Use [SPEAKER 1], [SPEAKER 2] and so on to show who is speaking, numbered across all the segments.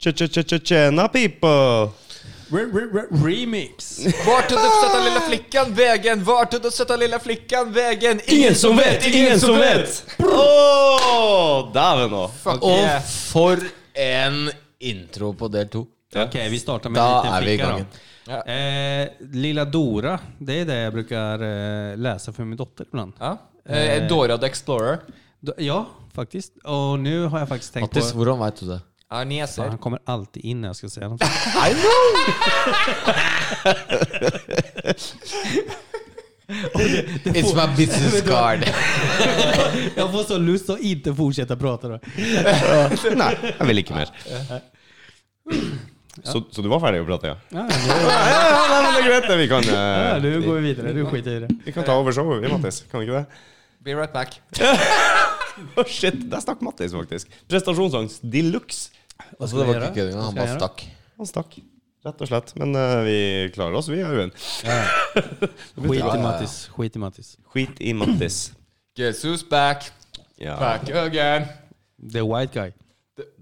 [SPEAKER 1] Ch-ch-ch-tjena, people!
[SPEAKER 2] Remix.
[SPEAKER 3] Var tog du söta lilla flickan vägen? Var tog du söta lilla flickan vägen?
[SPEAKER 2] Ingen som vet, ingen som vet!
[SPEAKER 1] Åh, Dæven òg.
[SPEAKER 3] Fuck
[SPEAKER 4] Og
[SPEAKER 3] yeah.
[SPEAKER 4] for en intro på del to.
[SPEAKER 2] Ok, vi starter med
[SPEAKER 4] Da
[SPEAKER 2] en liten
[SPEAKER 4] er vi i
[SPEAKER 2] flicka
[SPEAKER 4] gangen.
[SPEAKER 2] då. Eh, Lilla Dora, det är det jag brukar eh, läsa för min dotter ibland.
[SPEAKER 3] Ja. Eh, Dora the Explorer.
[SPEAKER 2] Då- Ja, faktiskt. Och nu har jag faktiskt tänkt
[SPEAKER 4] Mattis,
[SPEAKER 2] på...
[SPEAKER 4] hvordan veit du det?
[SPEAKER 3] Arneser.
[SPEAKER 2] Han kommer alltid in när jag ska säga något.
[SPEAKER 4] I know! It's my business card.
[SPEAKER 2] Jag får så lust att inte fortsätta prata då.
[SPEAKER 1] Nei, jeg vil ikke mer. Så, så du var ferdig å prate, ja?
[SPEAKER 2] Ja,
[SPEAKER 1] Ja, ja, ja, nei, men det er greit, det. Vi kan,
[SPEAKER 2] ja,
[SPEAKER 1] eh,
[SPEAKER 2] nu går vi vidare, du skiter i det.
[SPEAKER 1] vi kan ta over showet, vi, Mattis. Kan vi ikke det?
[SPEAKER 3] Be right back.
[SPEAKER 1] Å, Oh, shit, Der stakk Mattis, faktisk. Prestasjonsangst de luxe.
[SPEAKER 2] Vad
[SPEAKER 4] Så det var ikke køddinga. Han bare stakk.
[SPEAKER 1] Han stakk, rett og slett. Men eh, vi klarer oss, vi, Auen.
[SPEAKER 2] Skit i Mattis, skit i Mattis.
[SPEAKER 1] Skit i Mattis.
[SPEAKER 3] Guess who's back?
[SPEAKER 1] Ja.
[SPEAKER 3] Back again.
[SPEAKER 2] The white guy.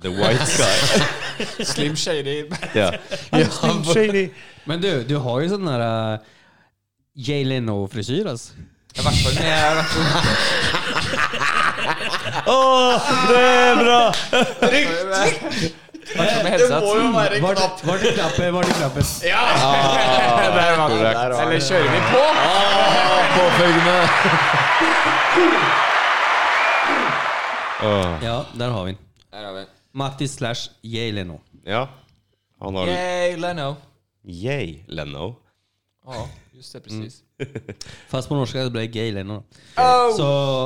[SPEAKER 1] The white guy.
[SPEAKER 3] Slim Shady.
[SPEAKER 1] Ja. I'm Slim Shady.
[SPEAKER 2] Men du, du har ju sån där uh, Jay Leno-frisyr alltså.
[SPEAKER 3] I hvert fall når jeg har
[SPEAKER 1] Det er bra!
[SPEAKER 3] vært
[SPEAKER 2] Eh,
[SPEAKER 3] med headset.
[SPEAKER 4] jo være
[SPEAKER 2] Vart, vart är knappen? Vart är knappen?
[SPEAKER 3] Der var den.
[SPEAKER 4] Korrekt.
[SPEAKER 3] Eller kjører vi på?
[SPEAKER 4] Ah, Påfølgende.
[SPEAKER 1] Åh,
[SPEAKER 2] Ja, där har vi den.
[SPEAKER 3] Der har vi den.
[SPEAKER 2] Mattis slash Jay Leno.
[SPEAKER 1] ja. Han har
[SPEAKER 3] Yay, Leno.
[SPEAKER 1] Yay, Leno.
[SPEAKER 3] Ja, just
[SPEAKER 4] Mm.
[SPEAKER 3] det, precis.
[SPEAKER 2] Fast på norska blir det Gay Leno.
[SPEAKER 3] Oh.
[SPEAKER 2] Så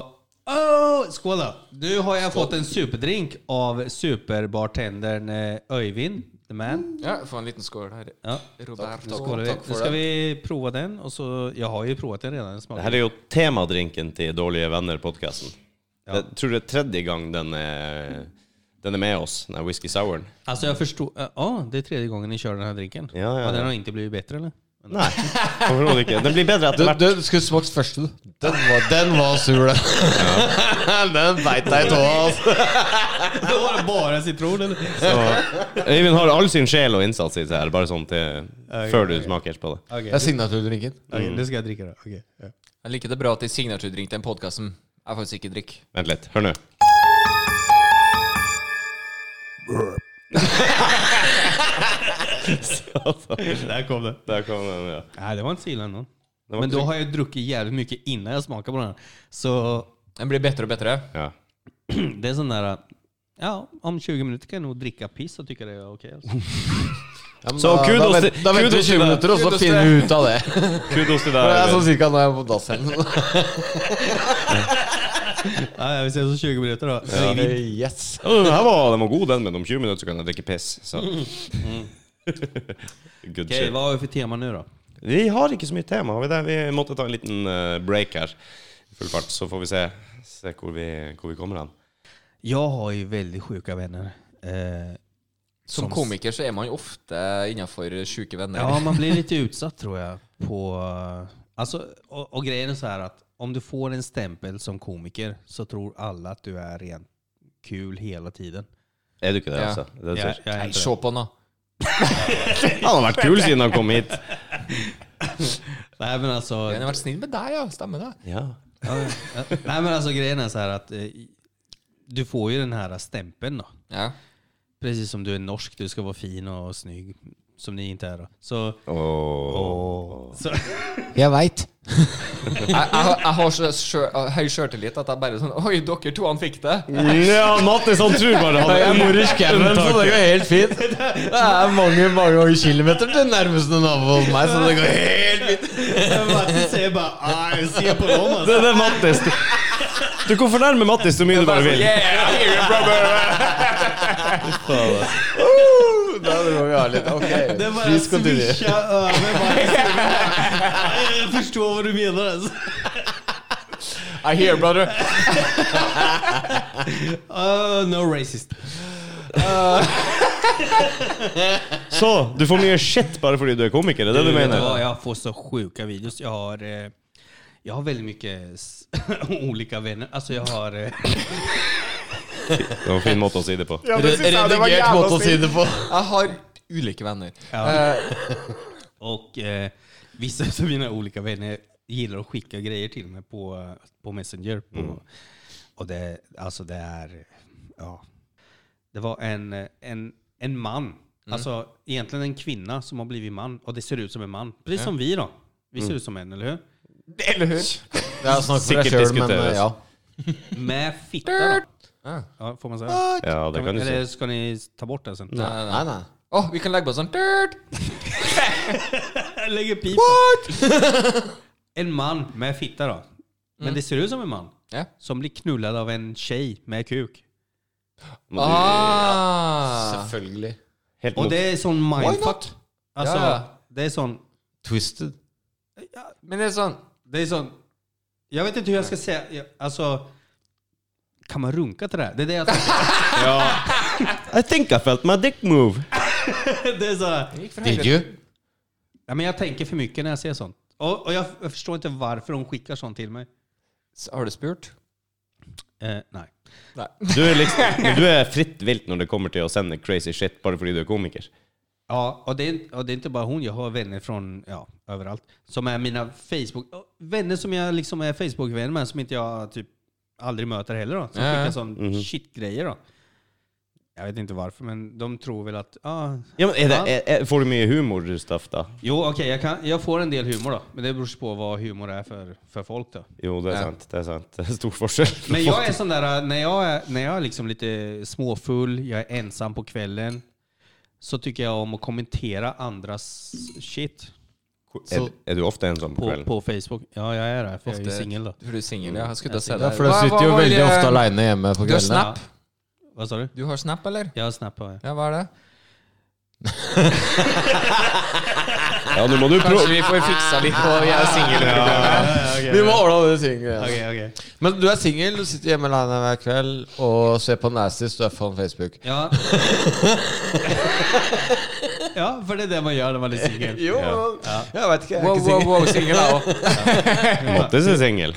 [SPEAKER 2] oh, Skål, da! Nu har jag fått en superdrink av superbartendern eh, Öyvind, the man.
[SPEAKER 3] Ja, få en liten skål her.
[SPEAKER 2] Ja.
[SPEAKER 3] Robert.
[SPEAKER 2] Skål, Skål, vi. Nu ska vi prova den. Och så, jag har ju provat den redan. Den
[SPEAKER 1] Det
[SPEAKER 2] smakar-
[SPEAKER 1] her er jo temadrinken til Dårlige venner-podkasten. Jeg tror det er tredje gang den er, den er med oss, den her whisky souren.
[SPEAKER 2] Alltså jag förstår. Ja, det är tredje gången ni kör den här drinken.
[SPEAKER 1] Ja, ja,
[SPEAKER 2] den
[SPEAKER 1] ja.
[SPEAKER 2] har inte blivit bättre eller?
[SPEAKER 1] Nei, overhodet ikke. Den blir bedre etter
[SPEAKER 4] Den,
[SPEAKER 1] hvert.
[SPEAKER 4] den skulle smakt først. du. Den var, den var sur, den. den beit deg i tåa. altså.
[SPEAKER 2] det var bara citron eller?
[SPEAKER 1] Så Øyvind har all sin sjel og innsats i det her, bare sånn til eh, før du smaker på det.
[SPEAKER 2] Okej,
[SPEAKER 4] Det er signaturdrinken.
[SPEAKER 2] okej, nu ska jag dricka det. Okej. ja.
[SPEAKER 3] Jeg liker det bra at de signaturdrink den podkasten. Jeg faktisk ikke drikk.
[SPEAKER 1] Vent litt, hør nå.
[SPEAKER 2] Där kom det.
[SPEAKER 1] Der kom den, ja.
[SPEAKER 2] Nej, det var inte så illa ändå.
[SPEAKER 1] var
[SPEAKER 2] Men
[SPEAKER 1] inte
[SPEAKER 2] då
[SPEAKER 1] så-
[SPEAKER 2] har jag druckit jävligt mycket innan jag smakar på den. här. Så
[SPEAKER 3] Den blir bedre og bedre.
[SPEAKER 1] ja.
[SPEAKER 2] det är sån där... Ja, om 20 minuter kan jag nog dricka piss och tycka det är okej. alltså.
[SPEAKER 4] Ja, men
[SPEAKER 1] Så
[SPEAKER 4] da-
[SPEAKER 1] kudos
[SPEAKER 4] da,
[SPEAKER 1] til-
[SPEAKER 4] vent- da venter vi
[SPEAKER 1] kudos til
[SPEAKER 4] 20
[SPEAKER 1] deg.
[SPEAKER 4] minutter, og så
[SPEAKER 3] Kudos til
[SPEAKER 4] finner vi ut av det.
[SPEAKER 1] Kudos til deg.
[SPEAKER 4] Det er sånn
[SPEAKER 1] Øyvind.
[SPEAKER 4] cirka når jeg er på dassen.
[SPEAKER 2] Ja, vi ses om 20 minuter då.
[SPEAKER 4] Yes.
[SPEAKER 1] Ja, Den her var, den var god, den, men om 20 minutter så kan jeg drikke piss. Så. Good
[SPEAKER 2] Okej,
[SPEAKER 1] shit.
[SPEAKER 2] vad har vi för tema nu då?
[SPEAKER 1] Vi har ikke så mye tema, har vi det? Vi måtte ta en liten eh, break her. i Full fart, så får vi se, se hvor, vi, hvor vi kommer hen.
[SPEAKER 2] Jag har ju väldigt sjuka vänner. Eh,
[SPEAKER 3] Som komiker så er man jo ofte innafor sjuke venner.
[SPEAKER 2] Ja, man blir lite utsatt tror jag. På, alltså, och, och grejen är så här att om du får en stämpel som komiker så tror alla att du är rent kul hela tiden.
[SPEAKER 1] Er du ikke det,
[SPEAKER 3] Ja.
[SPEAKER 1] altså? Det
[SPEAKER 2] Jag,
[SPEAKER 1] er
[SPEAKER 2] jag är
[SPEAKER 3] Nei,
[SPEAKER 2] inte
[SPEAKER 3] se
[SPEAKER 2] det.
[SPEAKER 3] på den, da.
[SPEAKER 1] Han har vært kul siden han kom hit.
[SPEAKER 2] Nej, men alltså,
[SPEAKER 3] Den har vært snill med deg, ja. Stemmer det.
[SPEAKER 1] Ja.
[SPEAKER 2] ja, ja. nej, men alltså grejen är så här att eh, du får ju den här stämpeln då.
[SPEAKER 3] Ja.
[SPEAKER 2] Precis som du är norsk, du ska vara fin och snygg. Som ni inte är då. Så, så
[SPEAKER 4] Jeg veit.
[SPEAKER 3] Jeg, jeg, har- jeg har så sjø, høy sjøltillit at jeg bare sånn Oi, dere to, han fikk det.
[SPEAKER 1] ja, Mattis han tror bare han
[SPEAKER 4] Jeg bor i skauen, så det går helt fint. Det er mange mange kilometer til nærmeste nabo hos meg, så det går helt fint.
[SPEAKER 2] Matti säger bara, ah, jag ser på dem alltså.
[SPEAKER 1] Det er det Mattis. Du kan fornærme Mattis så mye du bare vil.
[SPEAKER 3] Yeah, I hear you, brother.
[SPEAKER 4] Da dro vi av litt. Ok,
[SPEAKER 2] Det bara
[SPEAKER 4] please continue.
[SPEAKER 2] svischar över. Bara jag förstår vad du menar. Alltså.
[SPEAKER 3] I hear, brother.
[SPEAKER 2] Uh, no racist.
[SPEAKER 1] Så, du får mye shit bare fordi du er komiker, er det du
[SPEAKER 2] Vet du
[SPEAKER 1] mener?
[SPEAKER 2] vad, jag får så sjuka videos. Jag har, eh, jag har väldigt mycket s- olika vänner. Alltså jag har... Eh,
[SPEAKER 1] Det var en fin måte å si det på.
[SPEAKER 4] Re- Redigert måte å si det på.
[SPEAKER 3] Jeg har ulike venner.
[SPEAKER 2] Ja.
[SPEAKER 3] Eh,
[SPEAKER 2] Och eh, vissa av mina olika vänner gillar att skicka grejer till mig på, eh, på Messenger. På,
[SPEAKER 3] Mm.
[SPEAKER 2] Och det, alltså det är, ja. Det var en, eh, en, en man,
[SPEAKER 3] Mm.
[SPEAKER 2] alltså egentligen en kvinna som har blivit man. Och det ser ut som en man, precis som vi då. Vi
[SPEAKER 3] Mm.
[SPEAKER 2] ser ut som en, eller hur?
[SPEAKER 3] eller hur?
[SPEAKER 4] Det er snakk for deg
[SPEAKER 1] Sikkert
[SPEAKER 4] sjøl, men
[SPEAKER 1] diskuteres.
[SPEAKER 4] eh, ja.
[SPEAKER 2] Med fitta då.
[SPEAKER 3] Ah.
[SPEAKER 2] Ja, får man säga?
[SPEAKER 1] Ja, det kan du si.
[SPEAKER 2] Eller ska ni ta bort det sen?
[SPEAKER 3] Nei, nei.
[SPEAKER 4] Nei, nei.
[SPEAKER 3] Å, vi kan legge på sånn dirt.
[SPEAKER 2] Lägger pipa. en man med fitta då. Men det ser ut som en man.
[SPEAKER 3] Mm. Ja.
[SPEAKER 2] Som blir knullad av en tjej med kuk.
[SPEAKER 3] Ah.
[SPEAKER 4] Selvfølgelig.
[SPEAKER 1] Helt
[SPEAKER 2] Og
[SPEAKER 1] mot.
[SPEAKER 2] det er sånn mindfuck. Altså,
[SPEAKER 3] Ja, ja.
[SPEAKER 2] det er sånn
[SPEAKER 4] Twisted.
[SPEAKER 3] Men det er sånn
[SPEAKER 2] Det er sånn Jeg vet ikke hvordan jeg skal si jeg- Altså alltså, Kan man runke til det? her? Det er det jeg tenker.
[SPEAKER 1] I think I felt my dick move.
[SPEAKER 2] det er sånn,
[SPEAKER 3] gikk for
[SPEAKER 4] Did you?
[SPEAKER 2] ja, men jeg tenker for mye når jeg ser sånt. Og, og jeg, jeg forstår ikke hvorfor de skikker sånt til meg.
[SPEAKER 3] Har du spurt?
[SPEAKER 2] Eh, nei.
[SPEAKER 3] Nei.
[SPEAKER 1] Du er, liksom, men du er fritt vilt når det kommer til å sende crazy shit bare fordi du er komiker.
[SPEAKER 2] Ja, og det, er- og det er ikke bare hun. Jeg har venner fra ja, overalt. Som er mine Facebook... Venner som jeg liksom er Facebook-venner med, som ikke jeg typ aldri møter heller. Da, som
[SPEAKER 3] Ja, ja.
[SPEAKER 2] skikker sånn shit-greier. da. Jeg vet ikke hvorfor, men de tror vel at ah,
[SPEAKER 1] Ja, men er det, er, er, får du mye humorstuff, da?
[SPEAKER 2] Jo, okej, jag, kan, jag får en del humor då. Men det beror ju på vad humor är för, för folk då.
[SPEAKER 1] Jo, det er sant. Det er sant. Det er stor forskjell.
[SPEAKER 2] Men jag är sån där, äh, när jag är, när jag är liksom lite småfull, jag är ensam på kvällen, så tycker jag om att kommentera andras shit
[SPEAKER 1] Er, er du ofte ensom på
[SPEAKER 2] på,
[SPEAKER 1] kvelden?
[SPEAKER 2] på Facebook. Ja, jag är det, för jag är ju singel då.
[SPEAKER 3] Du er singel, ja. Jeg skulle til å si
[SPEAKER 4] Ja,
[SPEAKER 3] det.
[SPEAKER 4] for du
[SPEAKER 3] Hva-
[SPEAKER 4] sitter
[SPEAKER 3] hva
[SPEAKER 4] jo
[SPEAKER 3] var
[SPEAKER 4] veldig
[SPEAKER 3] det-
[SPEAKER 4] ofte aleine hjemme på
[SPEAKER 3] Du har
[SPEAKER 4] kveldene.
[SPEAKER 3] snap.
[SPEAKER 2] Vad sa du?
[SPEAKER 3] Du har snap, eller?
[SPEAKER 2] Jag har snap på
[SPEAKER 3] Ja, hva er det?
[SPEAKER 1] Ja, nå må du prøve
[SPEAKER 3] Kanskje vi får fiksa litt på vi er single.
[SPEAKER 4] Vi må ordne det tinget.
[SPEAKER 2] Okej, okej.
[SPEAKER 4] Men du er singel, du sitter hjemme alene hver kveld og ser på nasty stuff on Facebook.
[SPEAKER 2] Ja. ja, för det är det man gör när man är singel.
[SPEAKER 4] Jo,
[SPEAKER 1] Ja.
[SPEAKER 4] jeg vvet ikke. Jeg
[SPEAKER 3] Wow,
[SPEAKER 4] er ikke
[SPEAKER 3] wow,
[SPEAKER 4] singel.
[SPEAKER 3] wow, singel da òg.
[SPEAKER 1] Mattis er singel.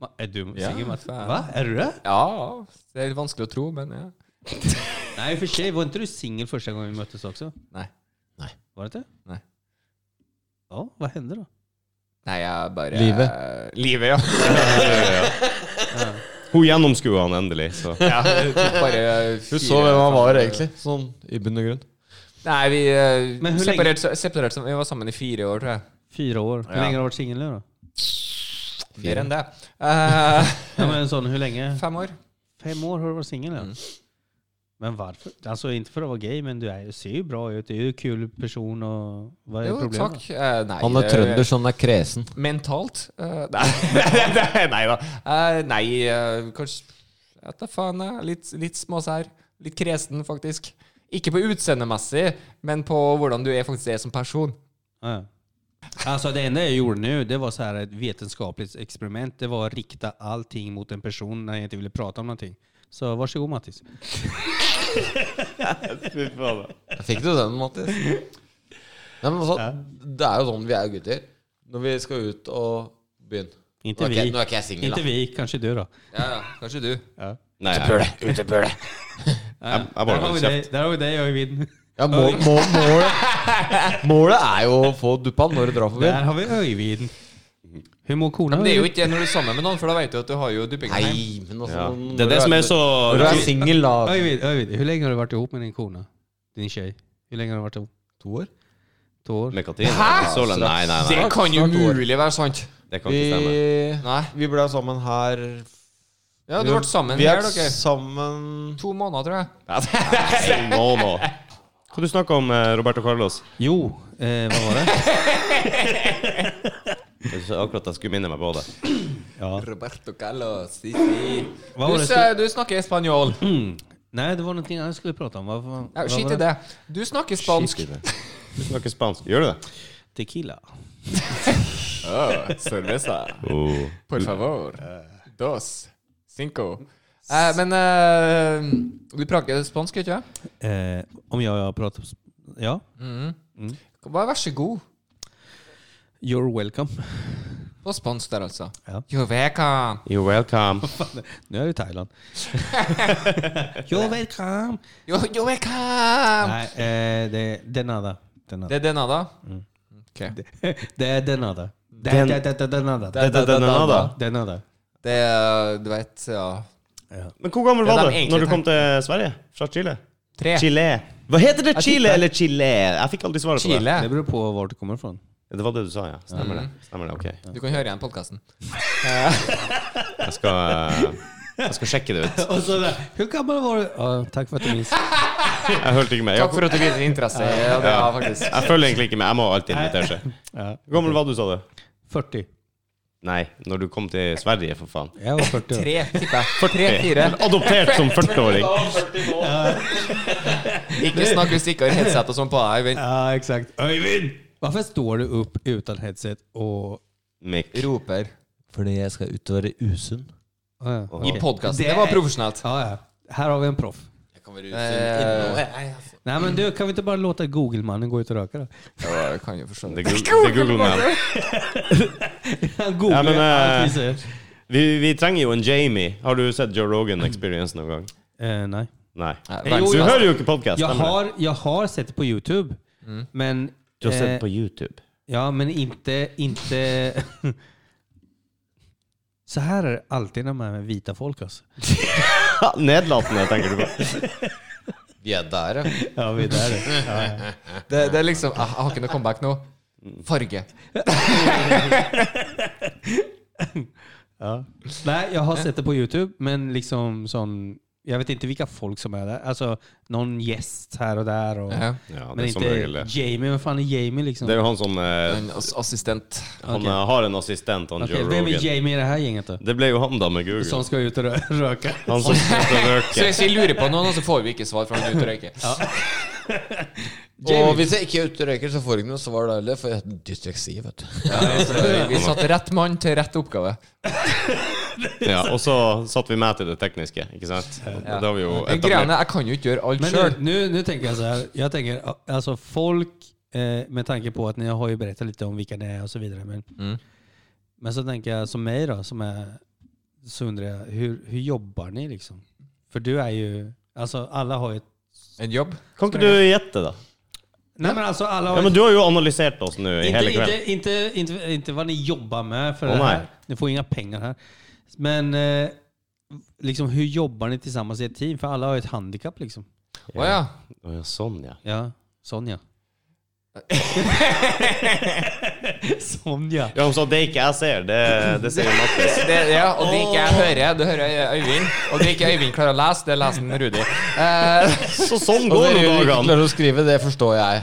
[SPEAKER 2] Ma- Är du
[SPEAKER 3] Ja,
[SPEAKER 2] singel? Mats?
[SPEAKER 3] fan.
[SPEAKER 2] Va? Är du det?
[SPEAKER 3] Ja, det er litt vanskelig å tro, men ja.
[SPEAKER 2] Nej, för sig, var inte du singel första gången vi möttes också?
[SPEAKER 3] Nei.
[SPEAKER 2] Var det inte?
[SPEAKER 3] Nej.
[SPEAKER 2] Ja, vad hände då?
[SPEAKER 3] Nei, jeg bare
[SPEAKER 4] Livet.
[SPEAKER 3] Livet, ja.
[SPEAKER 1] Hun gjennomskua han endelig, så
[SPEAKER 3] ja det tok bare
[SPEAKER 4] Hun så hvem han var, egentlig. Sånn i bunn og grunn.
[SPEAKER 3] Nei, vi
[SPEAKER 2] Men hvor
[SPEAKER 3] eh,
[SPEAKER 2] lenge-
[SPEAKER 3] separert, separert som- Vi var sammen i fire år, tror jeg.
[SPEAKER 2] Fyra år. Hur
[SPEAKER 3] Ja.
[SPEAKER 2] länge har du varit singel nu då?
[SPEAKER 3] Mer enn det. Eh,
[SPEAKER 2] Ja, men en sån, hur länge?
[SPEAKER 3] fem år.
[SPEAKER 2] Fem år har du varit singel ja. Men varför? Alltså inte för att vara gay, men du är, ser ju bra ut. Du är ju en kul person och vad är
[SPEAKER 3] Jo,
[SPEAKER 2] problemet?
[SPEAKER 3] takk. Eh, nei,
[SPEAKER 4] Han er
[SPEAKER 3] det-
[SPEAKER 4] trønder, så han er kresen.
[SPEAKER 3] Mentalt? Eh, nei. nei da. Eh, nei, eh, kanskje vet da faen. jeg. eh, Litt, litt småsær. Litt kresen, faktisk. Ikke på utseendemessig, men på hvordan du er faktisk er som person.
[SPEAKER 2] Ja. Alltså det enda jag gjorde nu, det var så här ett vetenskapligt experiment. Det var att rikta allting mot en person när jag inte ville prata om någonting. Så varsågod Mattis.
[SPEAKER 1] Fy faen.
[SPEAKER 4] Jeg Fikk du den, Mattis? Nei, men altså, Det er jo sånn vi er gutter. Når vi skal ut og begynne.
[SPEAKER 2] Inte
[SPEAKER 4] Nå er
[SPEAKER 2] vi.
[SPEAKER 4] ikke- nå er ikke jeg singel,
[SPEAKER 2] Inte
[SPEAKER 4] da.
[SPEAKER 2] vi, kanske du då.
[SPEAKER 3] Ja, ja, kanskje du.
[SPEAKER 1] Nei, jeg,
[SPEAKER 4] Utebøle.
[SPEAKER 1] jeg, jeg
[SPEAKER 2] Där
[SPEAKER 1] bare
[SPEAKER 2] har vi
[SPEAKER 1] holder
[SPEAKER 2] dig,
[SPEAKER 1] kjeft.
[SPEAKER 2] där har vi dig Öyvind.
[SPEAKER 4] Ja, må, må, målet, målet er jo å få duppa når du drar forbi.
[SPEAKER 2] Där har vi Öyvind. Hur mår korna?
[SPEAKER 3] Men det er jo ikke det når du er sammen med noen, for da vet du at du har jo duppingheim.
[SPEAKER 4] Nei, men altså
[SPEAKER 1] Ja.
[SPEAKER 4] når
[SPEAKER 1] Det er
[SPEAKER 4] du
[SPEAKER 1] det som er så
[SPEAKER 4] Når du er singel, da
[SPEAKER 2] Öyvind, Öyvind, hur länge har du varit ihop med din kona? Din tjej? Hur länge har du varit ihop?
[SPEAKER 4] To år?
[SPEAKER 2] Två år?
[SPEAKER 1] Med Katrine? Så lenge? Nei, nei, nei.
[SPEAKER 3] Det kan jo
[SPEAKER 4] Snart år.
[SPEAKER 3] umulig være sant.
[SPEAKER 1] Det kan
[SPEAKER 4] Vi,
[SPEAKER 1] ikke stemme.
[SPEAKER 3] Nei.
[SPEAKER 4] vi ble sammen her
[SPEAKER 3] Ja, du ble sammen
[SPEAKER 4] Vi
[SPEAKER 3] her,
[SPEAKER 4] er
[SPEAKER 3] dere.
[SPEAKER 4] sammen
[SPEAKER 3] To måneder, tror jeg.
[SPEAKER 1] Nei, nå, nå. Hva du snakker om, eh, Roberto Carlos?
[SPEAKER 2] Jo, eh, vad var det?
[SPEAKER 1] Jeg synes akkurat jeg skulle minne meg på det.
[SPEAKER 2] Ja.
[SPEAKER 4] Roberto Callo, si, si.
[SPEAKER 2] Hva var
[SPEAKER 3] Du,
[SPEAKER 2] det?
[SPEAKER 3] sa- du snakker spanjol.
[SPEAKER 2] Mm. Nei, det var noe annet jeg skulle prate om. Hva, hva,
[SPEAKER 3] Ja,
[SPEAKER 2] hva
[SPEAKER 3] Skit
[SPEAKER 2] var
[SPEAKER 3] i det. Du snakker spansk.
[SPEAKER 1] Skit i det. Du snakker spansk. Gjør du det?
[SPEAKER 2] Tequila.
[SPEAKER 4] Oh, cerveza.
[SPEAKER 1] Oh.
[SPEAKER 4] Por favor. Dos. Cinco.
[SPEAKER 3] Eh, men eh, du prater spansk, ikke sant?
[SPEAKER 2] Eh, om jeg har pratet om sp- Ja.
[SPEAKER 3] Bare vær så god.
[SPEAKER 2] You're welcome.
[SPEAKER 3] På spansk alltså. der, altså.
[SPEAKER 2] Ja.
[SPEAKER 3] Yo welcome.
[SPEAKER 1] You're welcome.
[SPEAKER 2] Nå er du i Thailand. You're welcome!
[SPEAKER 3] Yo, yo welcome.
[SPEAKER 2] Nei, eh, det, det er nada. Det er nada.
[SPEAKER 3] Det er denne, da?
[SPEAKER 2] Det er det nada. Det
[SPEAKER 1] Den-
[SPEAKER 2] det- det- det- det er nada.
[SPEAKER 1] Det- det- det er nada.
[SPEAKER 2] Det er nada.
[SPEAKER 3] Det er, du vet, ja
[SPEAKER 1] Men hvor gammel
[SPEAKER 3] Det er
[SPEAKER 1] var
[SPEAKER 3] de
[SPEAKER 1] du
[SPEAKER 3] egentlig
[SPEAKER 1] når du kom til Sverige? Fra Chile?
[SPEAKER 3] Tre.
[SPEAKER 1] Chile. alltså, Hva heter det?
[SPEAKER 3] Jeg
[SPEAKER 1] Chile
[SPEAKER 3] tipper-
[SPEAKER 1] eller Chile? Jeg fikk aldri svaret på det.
[SPEAKER 2] Det
[SPEAKER 3] Chile. Mm.
[SPEAKER 2] beror på hvor du kommer fra.
[SPEAKER 1] Det var det du sa, ja. Stemmer det. Stemmer det, ok.
[SPEAKER 3] Du kan høre igjen podkasten.
[SPEAKER 1] Jeg skal, eh, jeg skal sjekke det ut.
[SPEAKER 2] Og så der. Hvor gammel var du? Ja, takk for at du minste.
[SPEAKER 1] Jeg hørte ikke med.
[SPEAKER 3] Takk
[SPEAKER 1] Jeg,
[SPEAKER 3] for at du viser interesse. Ja, det er faktisk
[SPEAKER 1] jeg følger egentlig ikke med. Jeg må alltid invitere seg.
[SPEAKER 2] Ja.
[SPEAKER 1] Hvor gammel var du, sa du?
[SPEAKER 2] 40.
[SPEAKER 1] Nei, når du kom til Sverige, for faen.
[SPEAKER 2] Jeg var 40.
[SPEAKER 3] tre, tipper jeg. Tre-fire.
[SPEAKER 1] Adoptert som 40-åring.
[SPEAKER 3] Ikke snakk hvis du ikke har headset og sånn på deg. Vent.
[SPEAKER 2] Ja, exakt. Øyvind! Hvorfor står du opp uten headset og
[SPEAKER 1] Mikk.
[SPEAKER 3] Roper.
[SPEAKER 4] Fordi jeg skal ut og være usunn.
[SPEAKER 2] ah, ja.
[SPEAKER 3] I
[SPEAKER 2] Ok.
[SPEAKER 3] podkasten.
[SPEAKER 2] Det
[SPEAKER 3] Det
[SPEAKER 2] er-
[SPEAKER 3] var profesjonelt.
[SPEAKER 2] Ja, ja. Her har vi en proff.
[SPEAKER 4] Jeg kan være
[SPEAKER 3] Eh,
[SPEAKER 2] Nei, men du, kan vi ikke bare låte Google-mannen gå ut og røyke, da?
[SPEAKER 3] ja, jeg kan jo forstå
[SPEAKER 1] Det er Goog- det er Google Man.
[SPEAKER 2] Han googler
[SPEAKER 1] Ja, men, eh,
[SPEAKER 2] alt vi ser.
[SPEAKER 1] Vi, vi trenger jo en Jamie. Har du sett Joe Rogan
[SPEAKER 2] Mm.
[SPEAKER 1] Experience noen gang?
[SPEAKER 2] Eh, nei.
[SPEAKER 1] Nei.
[SPEAKER 3] Nei,
[SPEAKER 1] Du
[SPEAKER 3] verdens beste.
[SPEAKER 1] hører jo ikke podkast.
[SPEAKER 2] Jeg har, jeg har sett det på YouTube, men
[SPEAKER 1] Mm. Du har
[SPEAKER 2] eh,
[SPEAKER 1] sett på YouTube.
[SPEAKER 2] Ja, men inte... inte Så här är det alltid när man är med vita folk alltså.
[SPEAKER 1] Ha, Nedlatende, tenker du på.
[SPEAKER 4] Vi er der, ja.
[SPEAKER 2] Ja, vi där är
[SPEAKER 3] Det, det er liksom ah, Jeg har ikke noe comeback nå. Farge.
[SPEAKER 2] ja. Nej, jag
[SPEAKER 3] Eh.
[SPEAKER 2] har sett det på Youtube, men liksom sån... Jag vet inte vilka folk som är där. Alltså, någon gäst här och där. Och,
[SPEAKER 3] Ja.
[SPEAKER 1] Ja,
[SPEAKER 2] men
[SPEAKER 1] det er som regel
[SPEAKER 2] inte
[SPEAKER 1] det.
[SPEAKER 2] Jamie. Vad fan är Jamie liksom?
[SPEAKER 1] Det er jo han som eh,
[SPEAKER 3] En ass- assistent.
[SPEAKER 1] Han
[SPEAKER 2] Okej.
[SPEAKER 1] eh, har en assistent, han
[SPEAKER 2] Okej,
[SPEAKER 1] Joe
[SPEAKER 2] vem är
[SPEAKER 1] Rogan.
[SPEAKER 2] Jamie i det här gänget då?
[SPEAKER 1] Det ble jo han, da, med Google.
[SPEAKER 2] Som ska ut och rö- röka.
[SPEAKER 1] Han som sitter og
[SPEAKER 3] Så
[SPEAKER 1] røyker.
[SPEAKER 3] hvis vi lurer på noen, så får vi ikke svar fra han ut og røyker.
[SPEAKER 4] Og hvis jeg ikke er ute og røyker, så får jeg ikke noe svar da heller, for jeg er dysleksi, vet du.
[SPEAKER 3] Så Vi satte rett mann til rett oppgave.
[SPEAKER 1] Ja, og så satt vi med til det tekniske, ikke sant? Og Da har vi jo
[SPEAKER 3] Men
[SPEAKER 1] etablert
[SPEAKER 3] greiene, jeg kan jo ikke gjøre alt
[SPEAKER 2] Men
[SPEAKER 3] sjøl.
[SPEAKER 2] nu, nu, nu tänker jag så här. Jag tänker, alltså folk, eh, med tanke på att ni har ju berättat lite om vilka ni är och så vidare. Men,
[SPEAKER 3] Mm.
[SPEAKER 2] men så tänker jag som mig då, som är, så undrar jag, hur, hur jobbar ni liksom? För du är ju, alltså alla har ju... ett-
[SPEAKER 3] En jobb?
[SPEAKER 1] Kan ikke du gjette, da?
[SPEAKER 2] Nej men alltså alla har
[SPEAKER 1] Ja,
[SPEAKER 2] ju...
[SPEAKER 1] men Du har jo analysert oss nå i hele
[SPEAKER 2] inte,
[SPEAKER 1] kveld.
[SPEAKER 2] inte, inte, inte, inte vad ni jobbar med för
[SPEAKER 1] Åh,
[SPEAKER 2] det här.
[SPEAKER 1] nej.
[SPEAKER 2] Ni får inga pengar här. Men eh, liksom, hur jobbar ni tillsammans i ett team? För alla har ju ett handikapp liksom.
[SPEAKER 3] Å ja.
[SPEAKER 1] Å ja, sånn, ja.
[SPEAKER 2] Ja, Sonja. Sonja.
[SPEAKER 1] Ja, Hun sa det er ikke jeg ser, det, det ser Mattis.
[SPEAKER 3] Det, ja. Og det ikke jeg hører, det hører jeg Øyvind. Og det ikke Øyvind klarer å lese, det leser han Rudi. Eh,
[SPEAKER 1] Så sånn
[SPEAKER 4] Og
[SPEAKER 1] går nå
[SPEAKER 4] dere ikke
[SPEAKER 1] dagene.
[SPEAKER 4] klarer å skrive, det forstår jeg.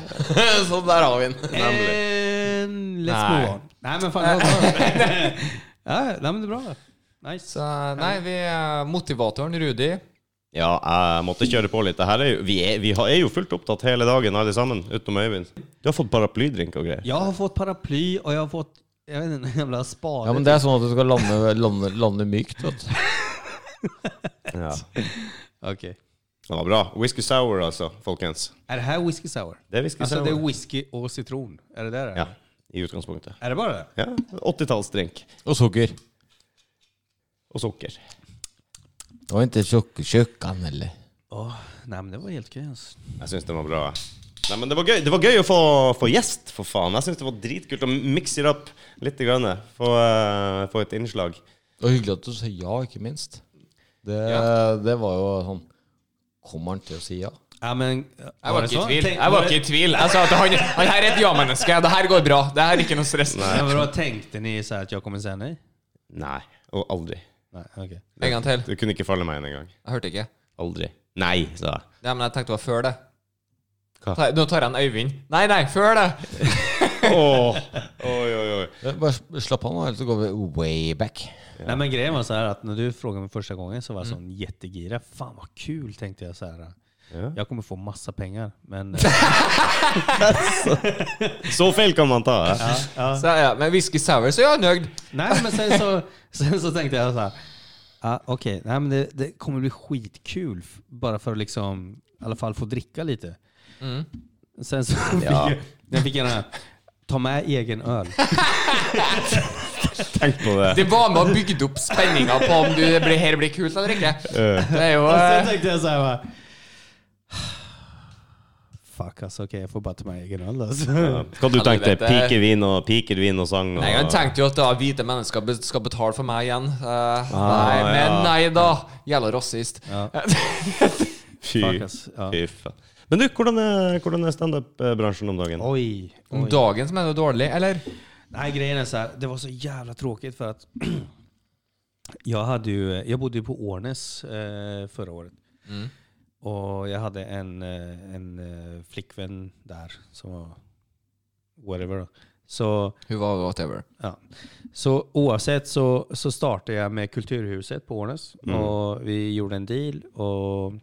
[SPEAKER 4] så der har vi den.
[SPEAKER 2] And let's
[SPEAKER 3] Nej.
[SPEAKER 2] move on. Nej men fan, det var bra. ja, nej, men det är bra. Nice.
[SPEAKER 3] så nei, vi er motivatoren Rudi.
[SPEAKER 1] Ja, jeg måtte kjøre på litt. Det her er jo, vi er, vi har- er jo fullt opptatt hele dagen, alle sammen, utenom Øyvind. Du har fått paraplydrink og greier.
[SPEAKER 2] Jag har fått paraply och jag har fått, jag vet inte, en jävla spade.
[SPEAKER 4] Ja, men det er sånn at du skal lande, lande, lande mykt, vet du.
[SPEAKER 1] Ja.
[SPEAKER 2] Okej.
[SPEAKER 1] Det var bra. Whisky sour, altså, folkens.
[SPEAKER 2] Är det här whisky sour?
[SPEAKER 1] Det er whisky
[SPEAKER 2] Alltså
[SPEAKER 1] sour.
[SPEAKER 2] det är whisky och citron. Är det där? eller?
[SPEAKER 1] Ja, i utgangspunktet.
[SPEAKER 2] Är det bara det?
[SPEAKER 1] Ja, 80-tallsdrink.
[SPEAKER 4] Og sukker.
[SPEAKER 1] Og sukker.
[SPEAKER 4] Det var ikke tjukkan, eller?
[SPEAKER 2] Åh, nej men det var helt okej alltså.
[SPEAKER 1] Jeg syns den var bra. jeg. Nei, men det var gøy, det var gøy å få, få gjest, for faen. Jeg syns det var dritkult å mix it up litt. Grann, få, eh, få et innslag.
[SPEAKER 4] Det var hyggelig at du sa ja, ikke minst. Det, det var jo sånn Kommer han til å si ja?
[SPEAKER 2] Ja men...
[SPEAKER 3] Jeg var ikke i tvil.
[SPEAKER 2] Tänk-
[SPEAKER 3] Jeg var ikke i tvil. Jeg sa at han, han her er et ja-menneske. Det her går bra. Det her er ikke noe stress.
[SPEAKER 2] Ja, men då tänkte ni så här att jag kommer säga nej?
[SPEAKER 1] Nei. Og aldri.
[SPEAKER 2] Nej, okej.
[SPEAKER 3] En gang til.
[SPEAKER 1] Du kunne ikke falle meg inn engang.
[SPEAKER 3] Jeg hørte ikke.
[SPEAKER 1] Aldri. Nei, sa jeg.
[SPEAKER 3] Ja, men jeg tenkte det var før det.
[SPEAKER 1] Hva?
[SPEAKER 3] Ta, nå tar jeg en Øyvind. Nei, nei, før det!
[SPEAKER 1] Åh, Oi, oi, oi.
[SPEAKER 4] Bare slapp av nå, ellers så går vi way back.
[SPEAKER 2] Nej men grejen var så här att när du frågade mig första gången så var jag sån jättegira. Fan vad kul tänkte jag så här.
[SPEAKER 1] Ja.
[SPEAKER 2] Jag kommer få massa pengar. Men,
[SPEAKER 1] Så feil kan man ta. eh?
[SPEAKER 2] ja, ja.
[SPEAKER 3] Så, ja, men whisky sour, så er han nøyd.
[SPEAKER 2] Nej men sen så, sen så tänkte jag så här. Ja, Okej, Nej, men det, det kommer bli skitkul f- bara för att liksom, i alla fall få dricka lite. Mm. Sen så fick
[SPEAKER 1] Ja.
[SPEAKER 2] jag, jag fick jag den här, ta med egen öl.
[SPEAKER 1] Tenk på det.
[SPEAKER 3] Det var med og bygde opp spenninga på om du blir, her blir kult eller ikke. Det er jo
[SPEAKER 2] Och sen
[SPEAKER 3] eh,
[SPEAKER 2] tänkte jag så här bara, Fuck altså, okej jag får bara ta med egen öl alltså.
[SPEAKER 1] Ja. Hva du tenkte du? Piker vin og piker vin og sang? Og...
[SPEAKER 3] Nei, Han tenkte jo at da hvite mennesker be- skal betale for meg igjen. Eh, nei,
[SPEAKER 1] Ah,
[SPEAKER 3] men
[SPEAKER 1] ja.
[SPEAKER 3] nei da. Jævla rasist.
[SPEAKER 2] Ja.
[SPEAKER 1] Fy,
[SPEAKER 2] Fuck, ass. Ja.
[SPEAKER 1] fy faen. Men du, hvordan er, hvordan er standup-bransjen om dagen?
[SPEAKER 2] Oj,
[SPEAKER 3] Om
[SPEAKER 2] oj.
[SPEAKER 3] dagen som er det dårlig, eller?
[SPEAKER 2] Mm, Nej, grejen är så här, det var så jävla tråkigt för att jag, hade ju, jag bodde ju på Årnäs eh, förra året. Och jag hade en, eh, en eh, flickvän där som var whatever. då. Så,
[SPEAKER 3] Hun var whatever.
[SPEAKER 2] ja. så oavsett så, så startade jag med Kulturhuset på Årnäs.
[SPEAKER 1] Mm.
[SPEAKER 2] Och vi gjorde en deal och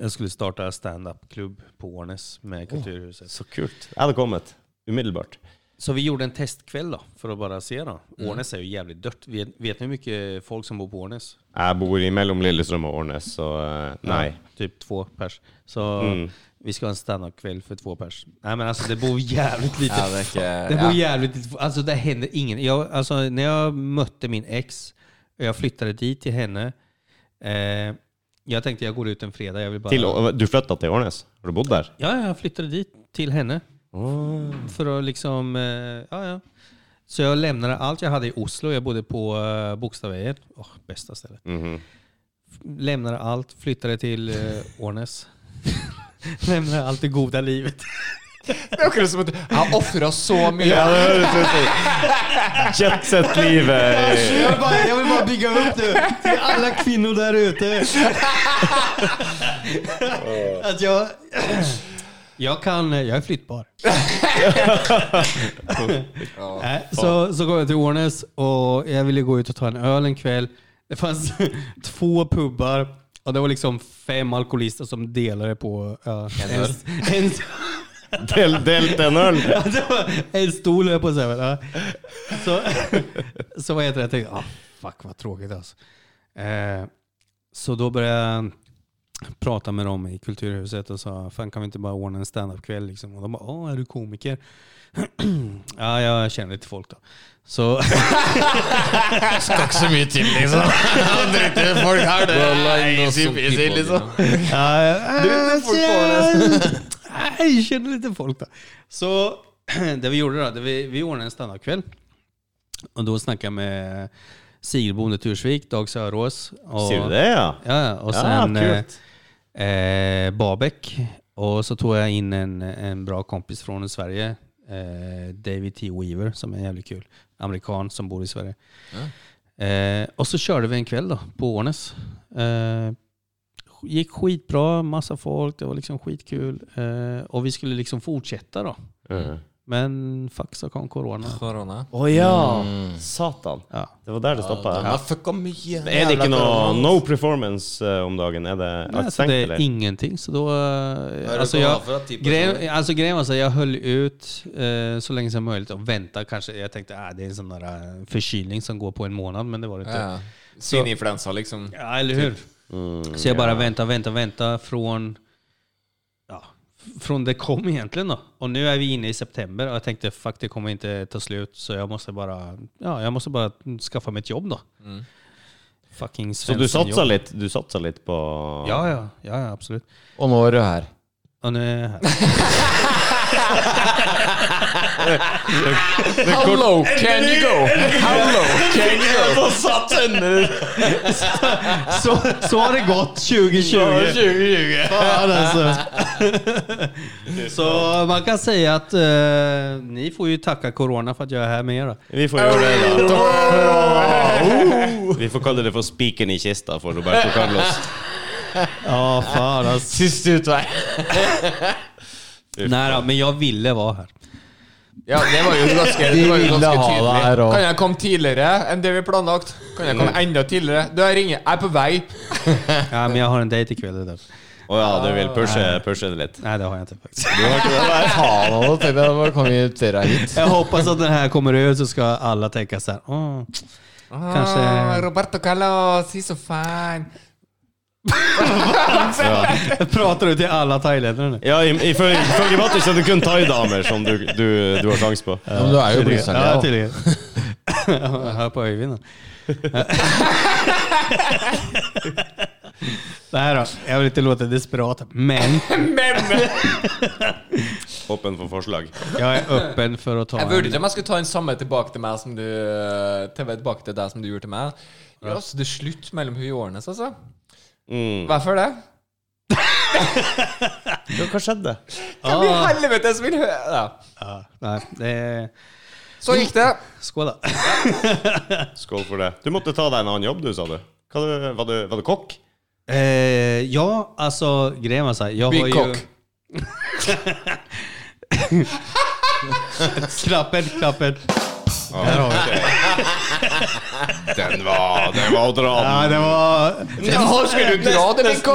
[SPEAKER 2] jag skulle starta stand-up-klubb på Årnäs med Kulturhuset.
[SPEAKER 1] Så kult. Jeg hadde kommet umiddelbart.
[SPEAKER 2] Så vi gjorde en testkväll då, för att bara se då.
[SPEAKER 1] Mm.
[SPEAKER 2] Årnäs är ju jävligt dött. Vet, vet ni hur mycket folk som bor på Årnäs?
[SPEAKER 1] Jeg bor i mellom Lillestrøm og Årnes, så eh, nei.
[SPEAKER 2] Ja, typ två pers. Så
[SPEAKER 1] Mm.
[SPEAKER 2] vi ska ha en standupkväll för två pers. Nej men altså, det bor jävligt lite.
[SPEAKER 3] Ja, det er ikke
[SPEAKER 2] Det
[SPEAKER 3] ja.
[SPEAKER 2] bor jävligt lite. Alltså det händer ingen. Jag, alltså, när jag mötte min ex, och jag flyttade dit till henne. Eh, jeg tenkte jeg går ut en fredag. Jag vill bara...
[SPEAKER 1] Til, Å- du flytta til Årnes? Har du bodd der?
[SPEAKER 2] Ja, jag flyttade dit till henne. För att liksom, eh, ja ja. Så jag lämnade allt jag hade i Oslo. Jag bodde på eh, Bokstavvägen. Åh, bästa stället.
[SPEAKER 1] Mhm.
[SPEAKER 2] Lämnade allt, flyttade till eh, Årnäs. lämnade allt det goda livet.
[SPEAKER 3] Det er akkurat som at jeg har ofra så mye.
[SPEAKER 1] Ja, det høres ut som Jetset-livet.
[SPEAKER 2] Jag vill, bara, jag vill bara bygga upp det till alla kvinnor där ute. Att jag... Jag kan, jag är flyttbar. Nej, Äh, så, så går jag till Årnäs och jag ville gå ut och ta en öl en kväll. Det fanns två pubbar och det var liksom fem alkoholister som delade på ja, en, en,
[SPEAKER 1] Del, delt en øl.
[SPEAKER 2] Ja, det var en stol höll jag på att säga. men, Ja. Så, så vad heter det? Jag tänkte, ah, fuck vad tråkigt alltså. Eh, så då började jag prata med dem i Kulturhuset och sa, fan kan vi inte bara ordna en standup-kväll? Liksom? Och de bara, ah, är du komiker? ja, jag känner lite folk då. Så
[SPEAKER 4] Skal ikke så mye til, liksom. Driter folk her, det
[SPEAKER 1] liksom.
[SPEAKER 2] Ja, äh, jag
[SPEAKER 4] folk får
[SPEAKER 2] jag känner lite folk då. Så det vi gjorde då, det vi, vi ordnade en standardkväll. Och då snackade jag med Sigrid Bonde Tursvik, Dag Sørås. och-
[SPEAKER 1] Sier du det, ja?
[SPEAKER 2] Ja, ja, och
[SPEAKER 1] Ja,
[SPEAKER 2] sen
[SPEAKER 1] kult.
[SPEAKER 2] eh, eh, Babek. Och så tog jag in en, en bra kompis från Sverige, eh, David T. Weaver, som är jävligt kul. Amerikan som bor i Sverige. Eh, och så körde vi en kväll då, på Årnäs. Eh, gick skitbra, massa folk, det var liksom skitkul. Eh, och vi skulle liksom fortsätta då.
[SPEAKER 1] Mhm.
[SPEAKER 2] Men fuck så kom corona.
[SPEAKER 3] Korona.
[SPEAKER 1] Å ja! Satan.
[SPEAKER 2] Ja.
[SPEAKER 1] Det var der det stoppa.
[SPEAKER 4] Ja, fucka mye.
[SPEAKER 1] Er det
[SPEAKER 4] jævla
[SPEAKER 1] ikke noe
[SPEAKER 4] korona.
[SPEAKER 1] no performance eh, om dagen? Er det
[SPEAKER 2] Nej,
[SPEAKER 1] er det
[SPEAKER 2] alltså
[SPEAKER 1] stengt,
[SPEAKER 2] det är
[SPEAKER 1] eller?
[SPEAKER 2] ingenting. Så då, eh,
[SPEAKER 4] Är det
[SPEAKER 2] alltså,
[SPEAKER 4] bara
[SPEAKER 2] jag,
[SPEAKER 4] för att typ-
[SPEAKER 2] grejen, alltså grejen var så här, jag höll ut eh, så länge som möjligt och väntade kanske. Jag tänkte att ah, det är en sån där eh, förkylning som går på en månad, men det var det inte.
[SPEAKER 3] Ja. Svineinfluensa, liksom.
[SPEAKER 2] Ja, eller hur?
[SPEAKER 1] Mm,
[SPEAKER 2] Så jag bara väntar, väntar, väntar från, ja, f- från det kom egentligen då. Och nu är vi inne i september och jag tänkte fuck det kommer inte ta slut så jag måste bara, ja, jag måste bara skaffa mig ett jobb då. Fucking
[SPEAKER 1] Så du satsa
[SPEAKER 2] jobb.
[SPEAKER 1] litt, du satsa litt på
[SPEAKER 2] Ja, ja, ja, ja, absolut.
[SPEAKER 4] Og nå er du her.
[SPEAKER 2] Och nu är jag här.
[SPEAKER 3] How low can you go? How low can you go?
[SPEAKER 1] Så satt den der.
[SPEAKER 2] så, så har det gått 2020. Fan alltså. Så man kan säga att eh, ni får ju tacka corona för att jag är här med er. då.
[SPEAKER 1] Vi får gjøre det, da. Vi får kalle det for spiken i kista for Roberto Carlos.
[SPEAKER 2] Ja, fan alltså.
[SPEAKER 4] Siste utvei.
[SPEAKER 2] Nej då, men jag ville vara här.
[SPEAKER 3] Ja, det var jo ganske,
[SPEAKER 5] De
[SPEAKER 3] det var jo
[SPEAKER 5] ville
[SPEAKER 3] ganske
[SPEAKER 5] ha
[SPEAKER 3] tydelig.
[SPEAKER 5] deg her også.
[SPEAKER 3] Kan jeg komme tidligere enn det vi planlagt? Kan jeg komme enda tidligere? Du, jeg ringer. Jeg er på vei.
[SPEAKER 2] Ja, men jeg har en date i kveld. det er derfor.
[SPEAKER 1] Å Oh, ja, du vil pushe, pushe det litt?
[SPEAKER 2] Nei, det har jeg ikke, faktisk.
[SPEAKER 5] Faen, altså, tenkte jeg, nå kan vi invitere deg hit.
[SPEAKER 2] Jeg håper at den her kommer ut, så skal alle tenke sånn Åh, kanskje
[SPEAKER 3] Ah, Roberto Carlos, he's so fine.
[SPEAKER 2] Jeg prater du til alle thailenderne?
[SPEAKER 1] Ja, i- ifølge ifølge Mattis er det kun thaidamer som du, du, du har sjanse på.
[SPEAKER 5] Ja, men du er jo
[SPEAKER 2] Tydligen.
[SPEAKER 5] bluseren,
[SPEAKER 2] Ja,
[SPEAKER 5] ja.
[SPEAKER 2] tydligen. Jeg Hør på øyevinden. Nei da, jeg vil ikke låte desperat, men
[SPEAKER 1] Åpen for forslag.
[SPEAKER 2] jeg er åpen for å ta
[SPEAKER 3] Jeg vurderte om jeg skulle ta den samme tilbake til meg som du til, tilbake til deg som du gjorde til meg. Ja, så det er slutt mellom hun og Årnes, altså.
[SPEAKER 1] Mm.
[SPEAKER 3] Hvorfor det?
[SPEAKER 1] Hva skjedde?
[SPEAKER 3] Hvem i helvete som vil høre ja.
[SPEAKER 2] Ja, Nei, det er
[SPEAKER 3] Så gikk det.
[SPEAKER 2] Skål, da.
[SPEAKER 1] Skål for det. Du måtte ta deg en annen jobb, du, sa du. Hva, du- var, du var du kokk?
[SPEAKER 2] Eh, ja, altså grejen var såhär, jag
[SPEAKER 3] Big
[SPEAKER 2] har ju...
[SPEAKER 3] cock.
[SPEAKER 2] klappen, klappen.
[SPEAKER 1] Den var Den var å dra
[SPEAKER 2] Ja,
[SPEAKER 1] den.
[SPEAKER 2] det var...
[SPEAKER 3] Nå skulle du dra det, Mikko.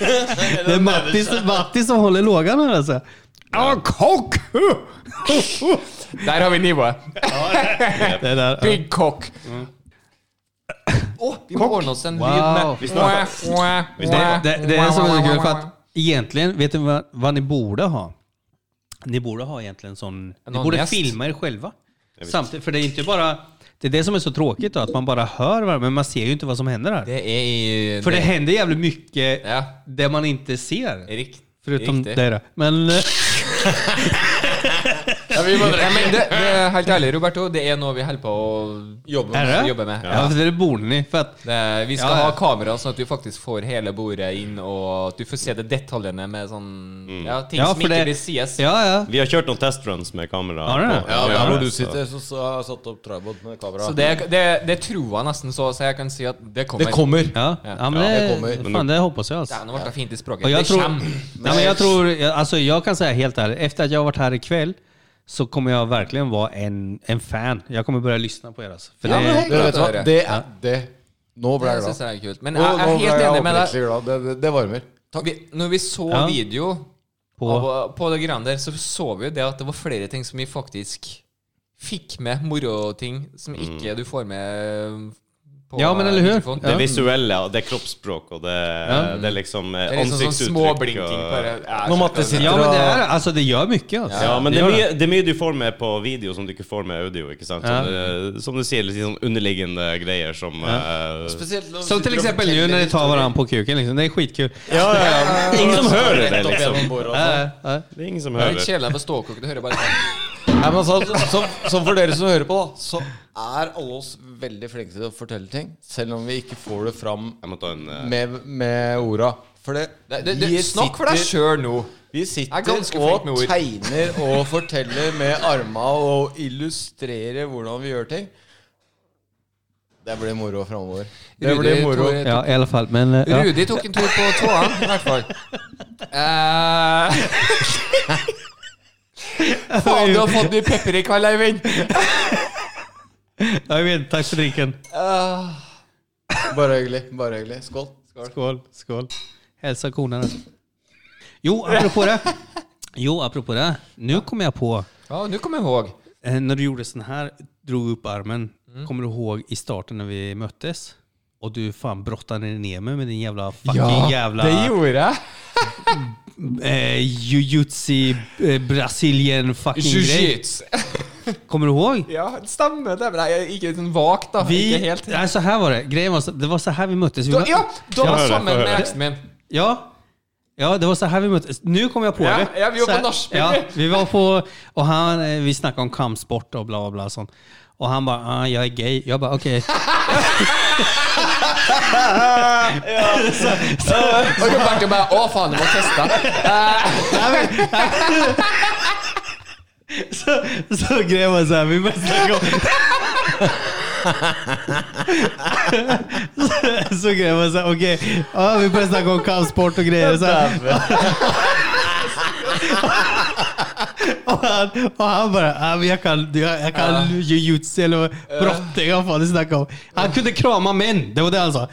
[SPEAKER 2] Det är Mattis, Mattis som håller lågan här alltså. Ja, kock!
[SPEAKER 3] Der har vi nivået.
[SPEAKER 2] Det där.
[SPEAKER 3] Big cock. Å, vi må ordne oss en lyd med
[SPEAKER 2] Wow.
[SPEAKER 1] Vi snakker-
[SPEAKER 2] Det, det, det är så kul för att egentligen, vet ni vad, vad ni borde ha? Ni borde ha egentligen sån... Ni
[SPEAKER 3] Någon
[SPEAKER 2] borde
[SPEAKER 3] gäst.
[SPEAKER 2] filma er själva. Samtidigt, för det är inte bara... Det är det som är så tråkigt då, att man bara hör varandra, men man ser ju inte vad som händer här.
[SPEAKER 3] Det er i
[SPEAKER 2] För det händer jävligt mycket
[SPEAKER 3] Ja,
[SPEAKER 2] det man inte ser.
[SPEAKER 3] riktig.
[SPEAKER 2] Förutom
[SPEAKER 3] riktig.
[SPEAKER 2] dig då. Men... eh,
[SPEAKER 3] Ja, vi må ja, men det, det er helt ærlig, Roberto. Det er noe vi holder på å jobbe med.
[SPEAKER 2] Er det?
[SPEAKER 3] Jobbe med.
[SPEAKER 2] Ja, for dere bor den i. For at
[SPEAKER 3] Det, vi skal
[SPEAKER 2] Ja, ja.
[SPEAKER 3] ha kamera, sånn at du faktisk får hele bordet inn, og at du får se det detaljene med sånn Ja, ting
[SPEAKER 2] Ja,
[SPEAKER 3] som
[SPEAKER 2] for
[SPEAKER 3] ikke
[SPEAKER 2] det-
[SPEAKER 3] vil sies.
[SPEAKER 2] Ja, ja.
[SPEAKER 1] Vi har kjørt noen testruns med kamera.
[SPEAKER 2] Har dere?
[SPEAKER 1] på.
[SPEAKER 4] Ja, der hvor du
[SPEAKER 1] så-
[SPEAKER 4] sitter, så, så har jeg satt opp tribod med kamera.
[SPEAKER 3] Så det, det, det tror jeg nesten så, så jeg kan si at det kommer.
[SPEAKER 4] det kommer.
[SPEAKER 2] Ja, ja men
[SPEAKER 4] Ja, det
[SPEAKER 2] det,
[SPEAKER 4] kommer.
[SPEAKER 2] fan, det hoppas jag alltså.
[SPEAKER 3] Ja, nå ble det fint i språket.
[SPEAKER 2] Och
[SPEAKER 3] Det
[SPEAKER 2] jag tror,
[SPEAKER 3] kommer.
[SPEAKER 2] nej, men jag tror, jag- alltså jag kan säga helt ärligt, efter att jag har varit här ikväll så kommer jag verkligen vara en, en fan. Jeg kommer börja lyssna på er alltså. För
[SPEAKER 3] Ja, men
[SPEAKER 2] det,
[SPEAKER 3] hej.
[SPEAKER 4] Dere vet hva, det er det. Nå ble
[SPEAKER 3] Det
[SPEAKER 4] jeg
[SPEAKER 3] synes
[SPEAKER 4] glad.
[SPEAKER 3] jeg er kult. Men
[SPEAKER 4] Nå,
[SPEAKER 3] jeg, jeg
[SPEAKER 4] nå
[SPEAKER 3] er
[SPEAKER 4] ble
[SPEAKER 3] helt
[SPEAKER 4] jeg
[SPEAKER 3] enig med deg.
[SPEAKER 4] oppriktig glad. Det, det, det varmer.
[SPEAKER 3] Vi, når vi så
[SPEAKER 2] Ja.
[SPEAKER 3] video
[SPEAKER 2] På-
[SPEAKER 3] av, på det greiene der, så så vi jo det at det var flere ting som vi faktisk fikk med. Moroting som
[SPEAKER 1] Mm.
[SPEAKER 3] ikke du får med eh, på
[SPEAKER 2] Ja, men eller hur?
[SPEAKER 3] mikrofon.
[SPEAKER 1] Det visuelle, og det er kroppsspråk, og det, det er liksom eh,
[SPEAKER 3] Det er liksom sånn
[SPEAKER 1] ansiktsuttrykk.
[SPEAKER 3] småblinking.
[SPEAKER 1] og-
[SPEAKER 3] Bare, ja,
[SPEAKER 4] Nå måtte
[SPEAKER 3] skjønner
[SPEAKER 4] jeg
[SPEAKER 2] ja, men det, är, alltså, det gör mycket alltså.
[SPEAKER 1] Ja, men det er,
[SPEAKER 2] gör
[SPEAKER 1] mye, det er mye du får med på video som du ikke får med audio. ikke sant? Som, eh, som du sier, litt sånn underliggende greier som eh,
[SPEAKER 4] Spesielt når
[SPEAKER 2] Som till exempel nu när ni tar varandra på kuken. Liksom. Det är skitkul.
[SPEAKER 1] ja, ja, ja. Ingen som hører det, liksom.
[SPEAKER 2] Ja, ja.
[SPEAKER 1] Det er ingen som
[SPEAKER 3] Det er
[SPEAKER 1] hører.
[SPEAKER 3] litt kjedelig på ståkok. Du hører bare
[SPEAKER 4] Nei, men altså, som, som for dere som hører på, da, så er alle oss veldig flinke til å fortelle ting. Selv om vi ikke får det fram
[SPEAKER 1] Jeg må ta en eh,
[SPEAKER 4] med, med orda. For det,
[SPEAKER 3] Nei, det, det, Snakk for deg
[SPEAKER 4] sitter,
[SPEAKER 3] sjøl nå.
[SPEAKER 4] vi
[SPEAKER 3] Jeg er
[SPEAKER 4] sitter
[SPEAKER 3] ganske flink
[SPEAKER 4] og
[SPEAKER 3] med ord.
[SPEAKER 4] tegner og forteller med arma og illustrerer hvordan vi gjør ting. Det blir moro framover. Det
[SPEAKER 3] Rudi
[SPEAKER 4] blir moro.
[SPEAKER 3] Tore-
[SPEAKER 2] ja, i alla fall. Men, eh, ja.
[SPEAKER 3] Rudi tok en tur på tåene, i hvert fall. Eh, Faen, du har fått mye pepper i kveld, Eivind.
[SPEAKER 2] Ja, jag vet, tack för drinken.
[SPEAKER 4] Bare hyggelig. Bare hyggelig. Skål.
[SPEAKER 2] Skål, skål. Hälsa konerna. Jo, apropå det. Jo, apropå det. Nu kom jag på,
[SPEAKER 3] Ja, nå kom jeg ihåg.
[SPEAKER 2] eh, när du gjorde sån här, drog upp armen.
[SPEAKER 3] Mm.
[SPEAKER 2] Kommer du ihåg i starten när vi möttes? Och du fan brottade ner mig med din jävla fucking jävla
[SPEAKER 3] det gjorde jeg.
[SPEAKER 2] eh, jujutsi eh, brasilien fucking grej.
[SPEAKER 3] Jiu-jitsu.
[SPEAKER 2] Kommer du ihåg?
[SPEAKER 3] Ja, det stemmer det. Men jeg er ikke sånn vagt, da.
[SPEAKER 2] Vi,
[SPEAKER 3] ikke helt.
[SPEAKER 2] nej, så här var det. Grejen var så, det var så här vi möttes. Vi
[SPEAKER 3] Da,
[SPEAKER 2] mö-
[SPEAKER 3] ja,
[SPEAKER 1] Ja,
[SPEAKER 3] da var
[SPEAKER 1] det-
[SPEAKER 3] jeg sammen
[SPEAKER 1] det-
[SPEAKER 3] med eksen min.
[SPEAKER 2] Ja. Ja, det var så här vi möttes. Nu kom jag på
[SPEAKER 3] Ja,
[SPEAKER 2] det.
[SPEAKER 3] ja, vi var
[SPEAKER 2] Så
[SPEAKER 3] på
[SPEAKER 2] här-
[SPEAKER 3] nachspiel.
[SPEAKER 2] Ja, vi var på... Och han, eh, vi snackade om kampsport och bla bla bla sånt. Och han bara, ah, jag är gay. Jag bara, okej.
[SPEAKER 3] Og Roberto bare Å, faen, du må teste.
[SPEAKER 2] Så, så grejen var så här, vi började snacka om... så, så grejen var så här, okej. Ja, vi började snacka om kampsport och grejer. Så här. och han, och han bara, "Ah, men jag kan, jag, jag kan jujutsu eller brottning. Vad fan det snackar om. Han kunde krama män, det var det han sa.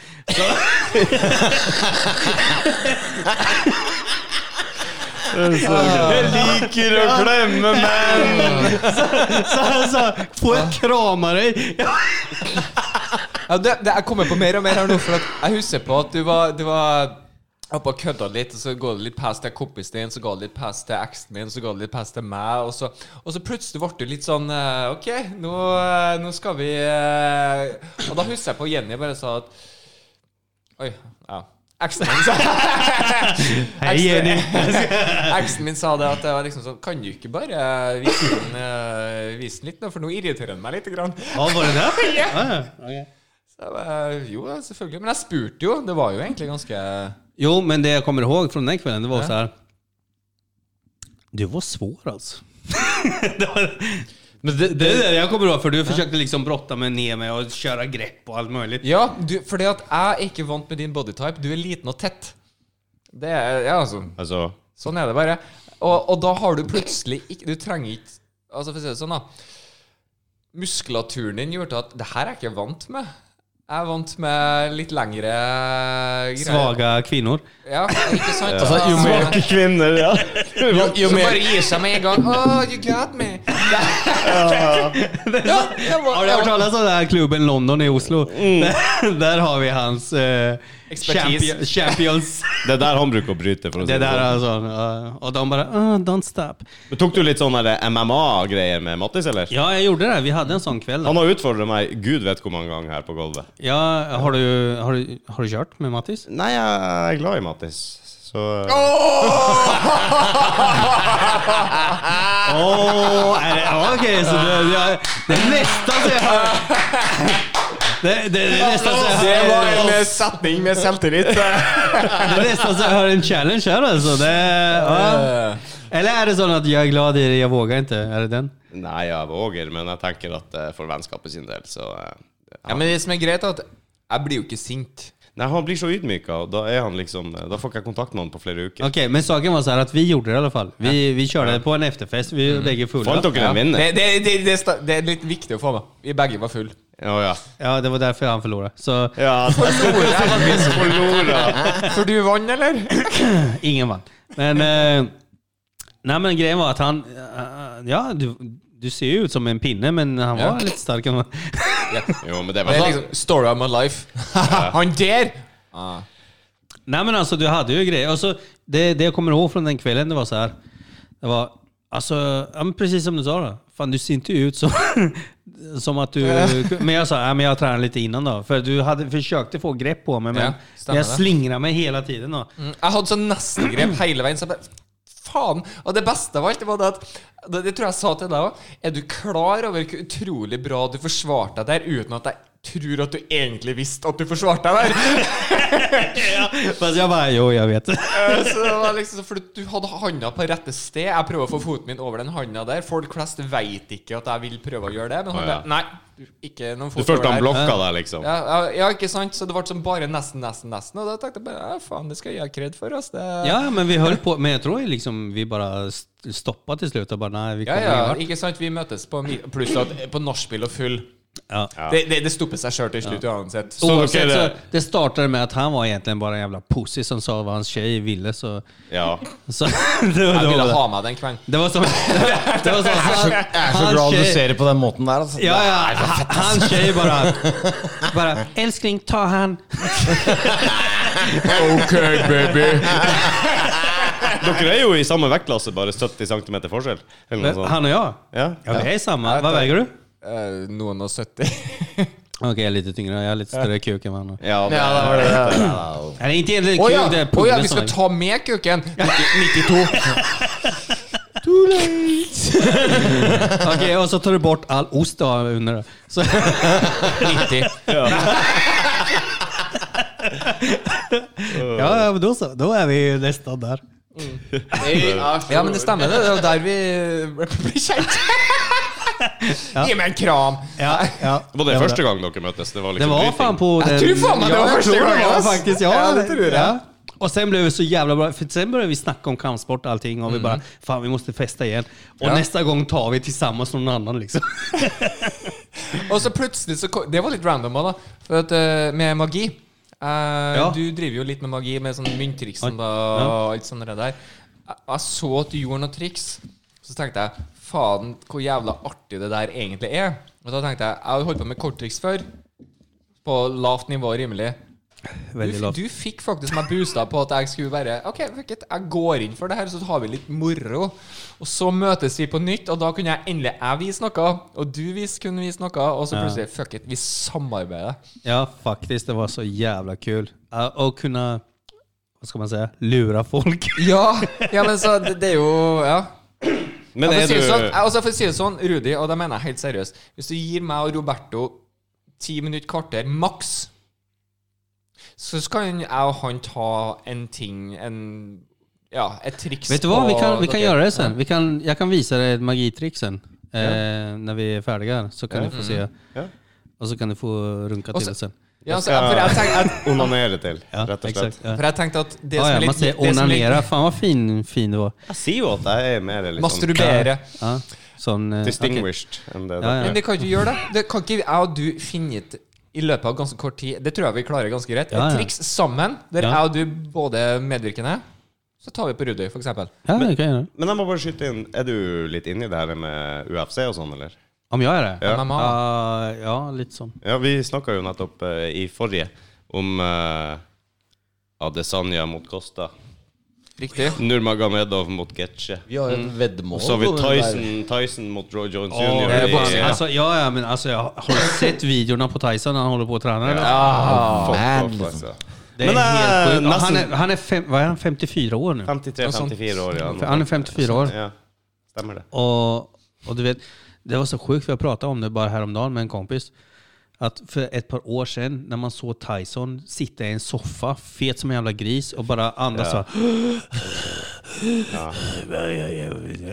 [SPEAKER 1] Jeg liker å klemme menn!
[SPEAKER 2] Så han sa, Alltså, får jag krama dig?
[SPEAKER 3] Ja, det, det, jeg kommer på mer og mer her nå, for at jeg husker på at du var, du var oppe og kødda litt, og så ga det litt pass til kompisen din, så ga det litt pass til eksen min, så ga det litt pass til meg, og så, og så plutselig ble du litt sånn eh, OK, nå, eh, nå skal vi eh», Og da husker jeg på Jenny bare sa at Oi. Ja. Eksen min sa
[SPEAKER 2] Hei, Jenny.
[SPEAKER 3] Eksen min sa det at det var liksom sånn Kan du ikke bare vise den, eh, vise den litt, nå, for nå irriterer den meg lite grann.
[SPEAKER 2] Ja, var det det? Ja, ja. Okej.
[SPEAKER 3] Så jeg bare, eh, jo, ja, selvfølgelig. Men jeg spurte jo. Det var jo egentlig ganske
[SPEAKER 2] Jo, men det jag kommer ihåg från den kvällen, det var så här. Du var svår alltså. det, var, men det, det är det jag kommer ihåg, för du försökte liksom brotta mig ner mig och köra grepp och allt möjligt.
[SPEAKER 3] Ja, du, fordi at jeg er ikke vant med din bodytype. Du er liten og tett. Det er, ja, altså,
[SPEAKER 1] Altså,
[SPEAKER 3] sånn er det bare. Og, og da har du plutselig ikke Du trenger ikke Altså, for å si det sånn, da. Muskulaturen din gjorde at Det her er jeg ikke vant med. Jeg er vant med litt lengre greier.
[SPEAKER 2] Svaga kvinnor.
[SPEAKER 3] Ja, ikke sant?
[SPEAKER 4] Altså, jo mer-
[SPEAKER 1] svake kvinner, ja.
[SPEAKER 4] Jo, jo
[SPEAKER 3] Som
[SPEAKER 4] mer
[SPEAKER 3] bare gir seg med en gang. Oh, you got me! ja, det var,
[SPEAKER 2] Har du hört talas om den här klubben London i Oslo? Där, där har vi hans eh,
[SPEAKER 3] Expertis.
[SPEAKER 2] champion- champions.
[SPEAKER 1] Det er der han bruker å bryte. For å si
[SPEAKER 2] Det
[SPEAKER 1] det
[SPEAKER 2] där
[SPEAKER 1] sånn.
[SPEAKER 2] alltså. eh, Och de bara, "Ah, don't stop.
[SPEAKER 1] Men Tok du litt sånn der MMA-greier med Mattis, eller?
[SPEAKER 2] Ja, jag gjorde det. Vi hade en sån kväll.
[SPEAKER 1] Han har utfordret meg gud vet hvor mange ganger her på gulvet.
[SPEAKER 2] Ja, har, du, har, du, har du kört med Mattis?
[SPEAKER 1] Nei, jeg er glad i Mattis. Så
[SPEAKER 2] Åh, är det- ja, okej, så det, det, det är nästan så jag hör. Det, det, det, är nästan så jag
[SPEAKER 3] Det var
[SPEAKER 2] hör,
[SPEAKER 3] en eh, setning med selvtillit.
[SPEAKER 2] det är nästan så jag hör en challenge här alltså. Det,
[SPEAKER 4] Eh,
[SPEAKER 2] ja. Eller är det sån att jag är glad i det, jeg vågar inte? Är det den?
[SPEAKER 1] Nei, jeg våger, men jeg tenker at eh, for vennskapet sin del, så eh,
[SPEAKER 3] Ja, men det som er greit, er at jeg blir jo ikke sint.
[SPEAKER 1] Nei, han blir så ydmyka, og da er han liksom Da får ikke jeg kontakt med han på flere uker.
[SPEAKER 2] Okej, men saken var så här att vi gjorde det i alla fall. Vi, vi körde på en efterfest, vi bägge fulla.
[SPEAKER 1] Fant dere en vinner?
[SPEAKER 3] Det, det, det, det, sta- det er litt viktig å få med. Vi begge var full
[SPEAKER 1] Å ja.
[SPEAKER 2] Ja, det var därför han förlorade. Så
[SPEAKER 1] ja. alltså, jeg skulle faktisk forlora.
[SPEAKER 3] For du vant, eller?
[SPEAKER 2] Ingen vann. Men, eh, nej, men grejen var att han... eh, ja, du, du ser ju ut som en pinne, men han var lite stark. än vad-
[SPEAKER 1] Jo, men det
[SPEAKER 3] Det
[SPEAKER 1] var
[SPEAKER 3] er liksom story of my life. Han der!
[SPEAKER 2] nej, men alltså, du hade ju grejer. Och så, det, det jag kommer ihåg från den kvällen, det var så här. Det var, alltså, ja, men precis som du sa då. Fan, du ser inte ut som, som att du... Men jag sa, ja, men jag tränade lite innan då. För du hade, försökte få grepp på mig, men
[SPEAKER 3] Ja, stämmer
[SPEAKER 2] jag
[SPEAKER 3] det. Mm.
[SPEAKER 2] slingrade mig hela tiden. Då.
[SPEAKER 3] Jeg hadde sånn nestengrep hele veien. Så jeg bare, faen Og det beste av alt var det at det, det tror jeg jeg sa til deg òg. Er du klar over hvor utrolig bra du forsvarte deg der, uten at jeg tror at du egentlig visste at du forsvarte deg der?
[SPEAKER 2] Fast jag bara, jo, jeg vet.
[SPEAKER 3] Eh, Så det var liksom, for du hadde handa på rette sted. Jeg prøver å få foten min over den handa der. Folk flest veit ikke at jeg vil prøve å gjøre det. Men han
[SPEAKER 1] Å, ja.
[SPEAKER 3] bare Nei, du- ikke noen fot
[SPEAKER 1] Du følte han
[SPEAKER 3] over der.
[SPEAKER 1] blokka deg, liksom?
[SPEAKER 3] Ja, ja, ja, ikke sant? Så det ble som bare nesten, nesten, nesten. Og da tenkte jeg bare ja, faen, det skal jeg ha kred for. Ass. Det,
[SPEAKER 2] Ja, men vi höll på. Men jag tror liksom vi bara st- stoppade till slut och bara, nej, vi
[SPEAKER 3] ja,
[SPEAKER 2] kommer
[SPEAKER 3] ja,
[SPEAKER 2] ingen vart.
[SPEAKER 3] ikke sant? Vi møtes på mi- Pluss at på nachspiel og full.
[SPEAKER 2] Ja.
[SPEAKER 3] Det, det, det stopper seg sjøl til slutt uansett.
[SPEAKER 1] Så
[SPEAKER 2] Oavsett,
[SPEAKER 1] dere-
[SPEAKER 2] så det startade med att han var egentligen bara en jävla pussy som sa vad hans tjej ville. Så,
[SPEAKER 1] Ja.
[SPEAKER 2] så det, var,
[SPEAKER 3] Jeg
[SPEAKER 2] det,
[SPEAKER 3] ville
[SPEAKER 2] var,
[SPEAKER 3] ha meg den kvelden.
[SPEAKER 2] det var som... Det var som
[SPEAKER 4] Jeg er så
[SPEAKER 2] hans
[SPEAKER 4] glad du
[SPEAKER 2] tjej-
[SPEAKER 4] ser det på den måten der. Altså.
[SPEAKER 2] Ja, ja, han- hans tjej bara, bara älskling ta han.
[SPEAKER 4] Ok, baby.
[SPEAKER 1] Dere er jo i samme vektklasse, bare 70 cm forskjell. Eller noe sånt.
[SPEAKER 2] Han och jag?
[SPEAKER 1] Ja.
[SPEAKER 2] Ja, vi är samma. Vad väger du?
[SPEAKER 3] Eh, noen og 70.
[SPEAKER 2] Okej, jag är lite tyngre. Jeg har lite större kuk än vad han har.
[SPEAKER 1] Ja,
[SPEAKER 4] Ja,
[SPEAKER 1] men,
[SPEAKER 4] det var det.
[SPEAKER 2] Nej, inte egentligen
[SPEAKER 3] Å
[SPEAKER 2] kuk,
[SPEAKER 3] ja.
[SPEAKER 2] det är
[SPEAKER 3] å ja,
[SPEAKER 2] pungen
[SPEAKER 3] vi
[SPEAKER 2] som
[SPEAKER 3] skal
[SPEAKER 2] väger.
[SPEAKER 3] ta med kuken! 90, 92.
[SPEAKER 2] Okej, och så tar du bort all ost du har under. det. Så,
[SPEAKER 3] 90.
[SPEAKER 2] ja, ja, men då så. Då är vi nästan där.
[SPEAKER 3] Ja, men det stemmer, det. Det er jo der vi blir kjent. Gi meg en kram!
[SPEAKER 2] Ja, ja.
[SPEAKER 1] var det
[SPEAKER 2] var
[SPEAKER 1] første gang dere møttes? Det var,
[SPEAKER 2] Det
[SPEAKER 1] liksom
[SPEAKER 2] var
[SPEAKER 1] bryting.
[SPEAKER 2] fan på den...
[SPEAKER 3] tror fan man, det
[SPEAKER 2] Ja,
[SPEAKER 3] var
[SPEAKER 2] jag
[SPEAKER 3] första
[SPEAKER 2] tror det
[SPEAKER 3] gången,
[SPEAKER 2] var
[SPEAKER 3] ass.
[SPEAKER 2] faktiskt. Ja,
[SPEAKER 3] Ja, det tror jag.
[SPEAKER 2] Ja. Och sen blev det så jävla bra, för sen började vi snacka om kampsport och allting
[SPEAKER 3] Mm.
[SPEAKER 2] och vi bara, fan vi måste festa igen. Och nästa gång tar vi tillsammans någon annan liksom.
[SPEAKER 3] Og så plutselig så kom, Det var litt random òg, da. For at, eh, med magi eh, Du driver jo litt med magi, med sånn mynttriksen da, og alt sånt der. Jeg, jeg så at du gjorde noen triks. Så tenkte jeg faen, hvor jævla artig det der egentlig er. Og da tenkte jeg jeg har holdt på med korttriks før. På lavt nivå og rimelig. Du,
[SPEAKER 2] Väldigt lågt.
[SPEAKER 3] du fikk faktisk meg boosta på at jeg skulle bare Ok, fuck it, jeg går inn for det her, så har vi litt moro. Og så møtes vi på nytt, og da kunne jeg endelig jeg vise noe, og du vis, kunne vise noe, og så plutselig fuck it, vi samarbeider.
[SPEAKER 2] Ja, faktiskt. Det var så jävla kul. Ja, och kunna, vad ska man säga, lura folk.
[SPEAKER 3] Ja, ja men så det, det er jo Ja.
[SPEAKER 1] Men
[SPEAKER 3] jeg
[SPEAKER 1] er
[SPEAKER 3] får si det sånn,
[SPEAKER 1] du
[SPEAKER 3] jeg, altså, for å si det sånn, Rudi, og det mener jeg helt seriøst Hvis du gir meg og Roberto ti minutter, kvarter, maks, så kan jeg og han ta en ting, en ja, et triks
[SPEAKER 2] Vet du vad, vi
[SPEAKER 3] på
[SPEAKER 2] kan, vi kan
[SPEAKER 3] dere.
[SPEAKER 2] göra det sen. Vi kan, jag kan visa dig ett magitrick sen. Eh, När vi är färdiga så kan du få se.
[SPEAKER 1] Ja.
[SPEAKER 2] Och Mm. så kan du få runka
[SPEAKER 3] Och
[SPEAKER 2] till
[SPEAKER 3] så-
[SPEAKER 2] det sen.
[SPEAKER 3] Ja, altså, for, jeg tenk,
[SPEAKER 1] onanerer til,
[SPEAKER 2] Ja,
[SPEAKER 1] rett og slett.
[SPEAKER 2] exakt. Ja.
[SPEAKER 3] for jeg tenkte at det
[SPEAKER 2] Ja,
[SPEAKER 3] som
[SPEAKER 2] ja,
[SPEAKER 3] er
[SPEAKER 2] man
[SPEAKER 3] litt
[SPEAKER 2] säger
[SPEAKER 3] det som er litt-
[SPEAKER 2] onanera. Fan vad fin, fin du var.
[SPEAKER 1] Jeg sier jo at jeg er mer liksom
[SPEAKER 3] Masturbere.
[SPEAKER 2] Ja, sån, eh,
[SPEAKER 1] distinguished enn det.
[SPEAKER 2] Ja, ja.
[SPEAKER 1] dere er.
[SPEAKER 3] Men det kan ikke gjøre det. Det kan ikke jeg og du finne ut i løpet av ganske kort tid. Det tror jeg vi klarer ganske greit.
[SPEAKER 2] Ja,
[SPEAKER 3] Et
[SPEAKER 2] ja.
[SPEAKER 3] triks sammen, der
[SPEAKER 2] Ja.
[SPEAKER 3] jeg og du både medvirkende, så tar vi på Rudi, for eksempel.
[SPEAKER 2] okej. Ja, det kan jag göra.
[SPEAKER 1] Men jeg må bare skyte inn, er du litt inni det her med UFC og sånn, eller?
[SPEAKER 2] Om jag är det?
[SPEAKER 1] Ja.
[SPEAKER 3] MMA.
[SPEAKER 2] Ja, ja lite sån.
[SPEAKER 1] Ja, vi snakka jo nettopp eh, i forrige om eh, Adesanya mot Costa.
[SPEAKER 3] Riktig.
[SPEAKER 1] Nurmagomedov mot Getche.
[SPEAKER 4] Vi har et veddemål.
[SPEAKER 1] Og så har vi
[SPEAKER 4] på den
[SPEAKER 1] Tyson, Tyson mot Roy Jones jr.
[SPEAKER 2] Eh,
[SPEAKER 1] i-
[SPEAKER 2] boxning. Alltså, ja, ja, men alltså, jag har sett videorna på Tyson när han håller på och tränar. eller?
[SPEAKER 1] Fuck off,
[SPEAKER 5] man,
[SPEAKER 1] altså.
[SPEAKER 2] Det är
[SPEAKER 1] Men, eh,
[SPEAKER 2] helt sjukt. Ja, Han
[SPEAKER 1] Nassim-
[SPEAKER 2] är, han är, fem, vad är han, 54 år nu?
[SPEAKER 1] 53-54 år, ja.
[SPEAKER 2] Han är 54 år.
[SPEAKER 1] Ja, stemmer det.
[SPEAKER 2] Och, och du vet, det var så sjukt, för jag pratade om det bara häromdagen med en kompis. Att för ett par år sedan när man såg Tyson sitta i en soffa, fet som en jävla gris och bara andas
[SPEAKER 1] Ja.
[SPEAKER 2] så.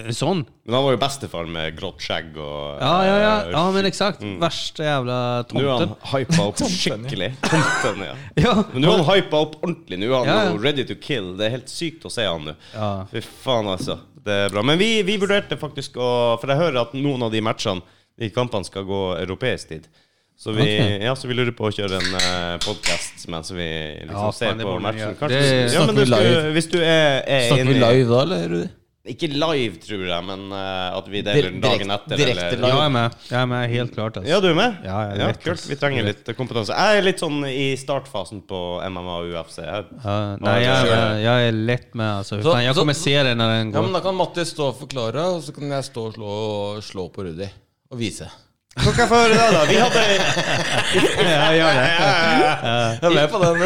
[SPEAKER 2] En sån.
[SPEAKER 1] Men han var jo bestefar med grått skjegg og
[SPEAKER 2] Ja, ja, ja.
[SPEAKER 1] eh,
[SPEAKER 2] ja men exakt. Värsta jävla
[SPEAKER 1] Nå er
[SPEAKER 2] tomten.
[SPEAKER 1] han hypa opp skikkelig. Tomten, ja.
[SPEAKER 2] Ja.
[SPEAKER 1] Men nå er han hypa opp ordentlig. Nå er han
[SPEAKER 2] Ja, ja.
[SPEAKER 1] jo ready to kill. Det er helt sykt å se han nå.
[SPEAKER 2] Ja.
[SPEAKER 1] Fy faen, altså. Det er bra. Men vi, vi vurderte faktisk å For jeg hører at noen av de matchene, de kampene, skal gå europeisk tid. Så vi,
[SPEAKER 2] Ok.
[SPEAKER 1] ja, så vi lurer på å kjøre en uh, podkast mens vi liksom
[SPEAKER 2] Ja, faen,
[SPEAKER 1] ser
[SPEAKER 2] det
[SPEAKER 1] på
[SPEAKER 2] må vi
[SPEAKER 1] matchen.
[SPEAKER 2] gjøre.
[SPEAKER 1] Kanskje-
[SPEAKER 5] Det-
[SPEAKER 1] ja, men
[SPEAKER 5] Snakker
[SPEAKER 1] du
[SPEAKER 5] vi
[SPEAKER 1] skulle,
[SPEAKER 5] live?
[SPEAKER 1] hvis du er, er
[SPEAKER 5] Snakker vi live da, eller, Rudi?
[SPEAKER 1] Ikke live, tror jeg, men eh, at vi deler den dagen
[SPEAKER 4] direkt-
[SPEAKER 1] etter.
[SPEAKER 4] direkte
[SPEAKER 1] eller-
[SPEAKER 4] live.
[SPEAKER 2] Jag är med. Jag är med helt klart. Alltså.
[SPEAKER 1] Ja, du er med?
[SPEAKER 2] Ja, jeg vet det.
[SPEAKER 1] kult. Vi trenger litt kompetanse. Jeg er litt sånn i startfasen på MMA og UFC. Jeg,
[SPEAKER 2] Ja,
[SPEAKER 1] Ja,
[SPEAKER 2] nej, jag,
[SPEAKER 1] det kör
[SPEAKER 2] är, jag är lätt med alltså.
[SPEAKER 4] Så-
[SPEAKER 2] Fan, jag
[SPEAKER 4] så-
[SPEAKER 2] kommer se det när den
[SPEAKER 4] Ja,
[SPEAKER 2] går.
[SPEAKER 4] men Da kan Matti stå og forklare, og så kan jeg stå og slå, og slå på Rudi. Og vise.
[SPEAKER 1] Hva kan jeg få høre da, da? Vi hadde
[SPEAKER 2] Ja, gör det. Eh,
[SPEAKER 4] Jeg er med på den.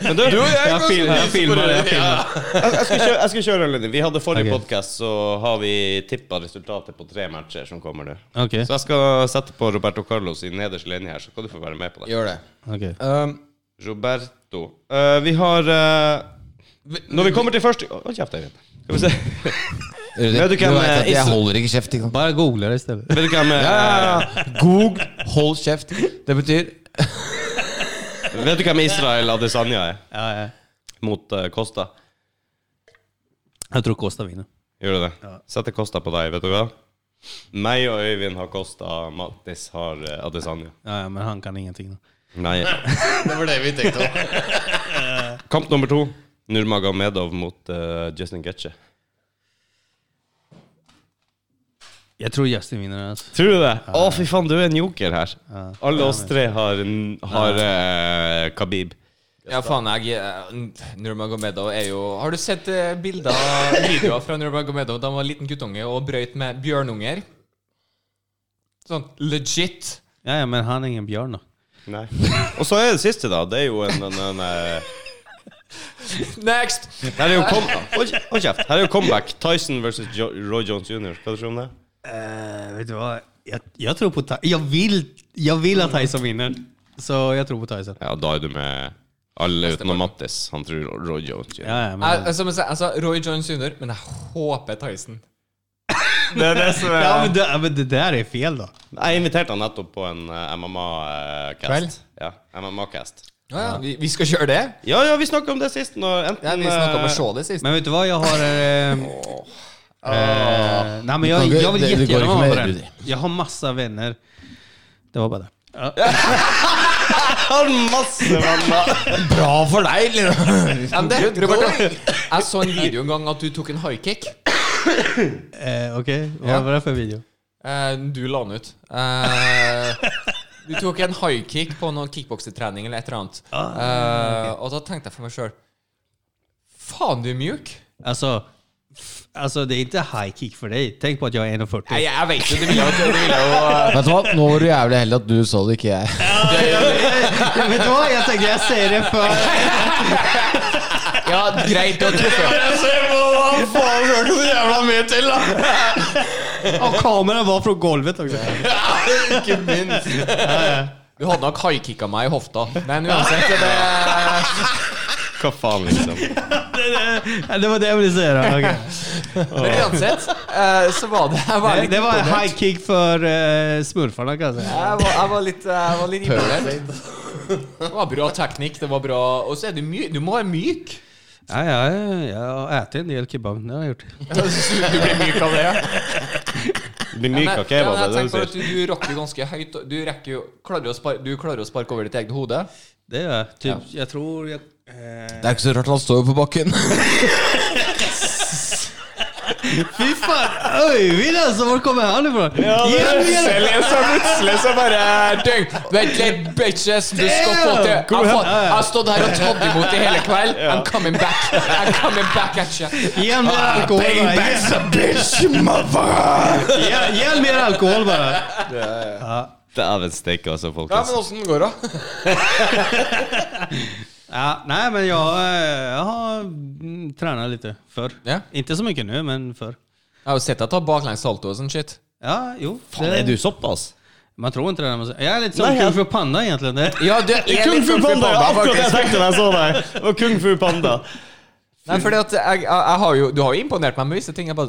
[SPEAKER 1] men du,
[SPEAKER 2] Jag, film, jag filmar det. Jag filmar.
[SPEAKER 1] Jeg, jeg skal kjøre, jeg skal kjøre Lenny. Vi hadde forrige
[SPEAKER 2] Ok.
[SPEAKER 1] podcast, så har vi tippa resultatet på tre matcher som kommer nå.
[SPEAKER 2] Okej.
[SPEAKER 1] Så jeg skal sette på Roberto Carlos i nederste linje her, så skal du få være med på det.
[SPEAKER 4] Gjør det.
[SPEAKER 2] Okej.
[SPEAKER 4] Um,
[SPEAKER 1] Roberto. Eh, vi har eh, Når vi kommer til første Å, Hold kjeft, Eivind. Skal vi se.
[SPEAKER 5] Rudi,
[SPEAKER 1] Men du
[SPEAKER 5] du
[SPEAKER 1] kan,
[SPEAKER 5] vet at
[SPEAKER 1] eh,
[SPEAKER 5] jeg
[SPEAKER 1] is-
[SPEAKER 5] holder ikke kjeft, ikke sant?
[SPEAKER 2] Bara googla det istället.
[SPEAKER 1] Vet du hvem eh,
[SPEAKER 4] Google 'hold kjeft'. Det betyr
[SPEAKER 1] Vet du hvem Israel Adesanya er?
[SPEAKER 2] Ja, ja.
[SPEAKER 1] Mot eh, Costa?
[SPEAKER 2] Jag tror Kosta vinner.
[SPEAKER 1] Gjør du det? Setter Kosta på deg, vet du hva? Meg og Øyvind har Kosta, Mattis har eh, Adesanya.
[SPEAKER 2] Ja, ja, men han kan ingenting.
[SPEAKER 1] Nei.
[SPEAKER 4] Det var det vi tenkte om.
[SPEAKER 1] Kamp nummer to. Nurmagomedov mot eh, Justin Getche.
[SPEAKER 2] Jag tror Justin vinner alltså.
[SPEAKER 1] Tror du det? Å, fy faen, du er en joker her. Alle oss tre har, en- har eh, Khabib.
[SPEAKER 3] Ja, faen, jeg eh, Nurmagomedov er jo Har du sett eh, bilder, videoer fra Nurmagomedov da han var liten guttunge och brøyt med bjørnunger? Sånn legit.
[SPEAKER 2] Ja, ja, men han är ingen björn då.
[SPEAKER 1] Nei. Og så er det siste, da. Det er jo en, en, en eh,
[SPEAKER 3] Next!
[SPEAKER 1] Her er jo kom... Hold kje- hold kjeft. Her er jo comeback. Tyson versus jo Roy Jones jr. Hva tror du om det?
[SPEAKER 2] Eh, vet du vad? Jag, jag tror på Tyson. Jag vill, jag vill att Tyson vinner. Så jag tror på Tyson.
[SPEAKER 1] Ja, da er du med alle utenom Mattis. Han tror Roy Jones jr.
[SPEAKER 2] Ja, ja, men,
[SPEAKER 3] Jeg, som jeg sa, altså, alltså, Roy Jones Jr., men jeg håper Tyson.
[SPEAKER 1] Det er det som
[SPEAKER 2] ja, men, det, ja, men det där är fel då.
[SPEAKER 1] eh, Jeg inviterte han nettopp på en MMA-cast.
[SPEAKER 3] Kveld?
[SPEAKER 1] Ja, MMA-cast.
[SPEAKER 3] ja. Vi, vi skal kjøre det?
[SPEAKER 1] Ja, ja, vi snakka om det sist. Når enten,
[SPEAKER 3] Ja, vi snakka om å
[SPEAKER 1] eh,
[SPEAKER 3] se det sist.
[SPEAKER 2] Men vet du hva, jag har... Eh, eh, nej, men jag,
[SPEAKER 5] Du kan-
[SPEAKER 2] jag vill
[SPEAKER 5] det- det går
[SPEAKER 2] jättegärna
[SPEAKER 5] inte
[SPEAKER 2] vara
[SPEAKER 5] med
[SPEAKER 2] med
[SPEAKER 5] Rudi.
[SPEAKER 2] den. Jag har massa vänner. Det var bara det.
[SPEAKER 1] eh, har masse venner.
[SPEAKER 4] Bra for deg, Lina.
[SPEAKER 3] Ja, men det, Robert, jeg så en video en gang at du tok en highkick.
[SPEAKER 2] Eh, Okej,
[SPEAKER 3] Ja.
[SPEAKER 2] vad var det för video?
[SPEAKER 3] Eh, du la den ut. Eh, du tok en highkick på noen kickboksetrening eller et eller annet. Eh, og da tenkte jeg for meg sjøl Faen, du er mjuk!
[SPEAKER 2] Alltså, f- alltså det är inte high kick för dig. Tänk på att jag är 1,40.
[SPEAKER 3] Nei, jeg, jeg vet jo, det ville jo det ville jo eh,
[SPEAKER 5] Vet du hva, nå var du jævlig heldig at du så det, ikke jeg.
[SPEAKER 2] Vet du vad, jag tänkte jag säger det för...
[SPEAKER 3] Ja, greit, du har truffet.
[SPEAKER 4] Faen, hørte du jævla mye til, da?
[SPEAKER 2] Ja, kameran var från golvet också.
[SPEAKER 4] Ikke minst.
[SPEAKER 3] Du hadde nok high-kicka meg i hofta. Men uansett, det
[SPEAKER 1] Hva faen, liksom.
[SPEAKER 2] Ja, det var det jag ville säga. Då. Okej.
[SPEAKER 3] Men uansett, eh, så var det Jeg var
[SPEAKER 2] Det,
[SPEAKER 3] litt
[SPEAKER 2] det var en
[SPEAKER 3] imponert.
[SPEAKER 2] high kick för eh, smurfarna kan jag säga.
[SPEAKER 3] Jeg var, jeg var litt, jeg var litt imponert. Det var bra teknikk. det var bra Og så er du myk. Du må være myk.
[SPEAKER 2] Ja, ja, ja, jag har ätit en del kebab, det har jag gjort.
[SPEAKER 3] Du blir myk av det.
[SPEAKER 1] Blir myk av kebab, det er det
[SPEAKER 3] du
[SPEAKER 1] du sier.
[SPEAKER 3] Du, du rocker jo ganske høyt. og Du, rekker jo, klarer, å spar, du klarer å sparke over ditt eget hode.
[SPEAKER 2] Det gör jag. Typ, jag tror jag... Eh,
[SPEAKER 4] Det er ikke så rart han står jo på bakken.
[SPEAKER 2] Fy fan, Öyvind alltså, var kommer han ifrån? Ja,
[SPEAKER 3] så plutselig så bare døgn. Vent litt, bitches. Du skal få til Jeg har fått- jeg har stått her og tatt imot i hele kveld. I'm coming back. I'm coming back at you.
[SPEAKER 2] Ge mer alkohol bara! Ge-
[SPEAKER 4] bitch, mother!
[SPEAKER 2] Ge ge mer alkohol bara!
[SPEAKER 1] Dæven steike, altså,
[SPEAKER 4] Ja, men
[SPEAKER 1] folkens.
[SPEAKER 4] åssen går det?
[SPEAKER 2] Ja, nej men jag, eh, jag har mm, tränat lite förr.
[SPEAKER 3] Ja.
[SPEAKER 2] Inte så mycket nu, men förr.
[SPEAKER 3] Jeg har jo sett deg ta baklengs salto og sånn shit.
[SPEAKER 2] Ja, jo.
[SPEAKER 1] Faen, er du såpass?
[SPEAKER 2] Man tror inte det när man säger... Jag är lite som
[SPEAKER 1] Nej,
[SPEAKER 2] Kung
[SPEAKER 1] jag-
[SPEAKER 2] Fu Panda egentligen. Det,
[SPEAKER 3] Ja, du er
[SPEAKER 1] Kung Fu Panda! ja, Akkurat det jeg tenkte da jeg så deg. Det var Kung Fu Panda.
[SPEAKER 3] Nei, fordi at jeg, jeg, jeg har jo, Du har jo imponert meg med visse ting. Jeg bare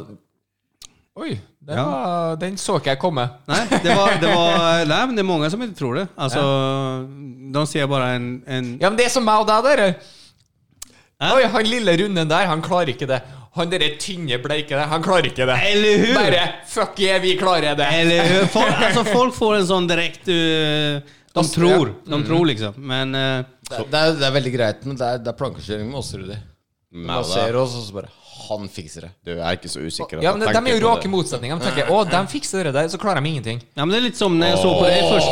[SPEAKER 3] Oi, det
[SPEAKER 2] Ja.
[SPEAKER 3] var, den så ikke jeg komme.
[SPEAKER 2] Nej, det var, det var, nej, men det är många som inte tror det. Alltså, de ser bara en... en
[SPEAKER 3] Ja, men det er som meg og deg, dere.
[SPEAKER 2] Hæ?
[SPEAKER 3] Oi, han lille runden der, han klarer ikke det. Han derre tynne, bleike der, han klarer ikke det.
[SPEAKER 2] Eller hur?
[SPEAKER 3] Bare fuck yeah, vi klarer det.
[SPEAKER 2] Eller hur? Folk, alltså, folk får en sånn direkt eh, De
[SPEAKER 1] Alltså,
[SPEAKER 3] Fast,
[SPEAKER 2] tror. De
[SPEAKER 1] Mm.
[SPEAKER 2] tror liksom. Men eh,
[SPEAKER 5] Det, det, er, det er veldig greit, men det er, det er plankekjøring med oss, Rudi. Du bare ser oss, og så bare Han fikser det.
[SPEAKER 1] Du, jeg er ikke så usikker. at
[SPEAKER 3] Ja,
[SPEAKER 1] jeg
[SPEAKER 3] men De
[SPEAKER 1] tenker
[SPEAKER 3] er jo
[SPEAKER 1] på
[SPEAKER 3] rake
[SPEAKER 1] det.
[SPEAKER 3] motsetninger. De
[SPEAKER 2] Äh,
[SPEAKER 3] tenker å, de fikser det der, så klarer de ingenting.
[SPEAKER 2] ja, men det är lite som när jag såg på dig först.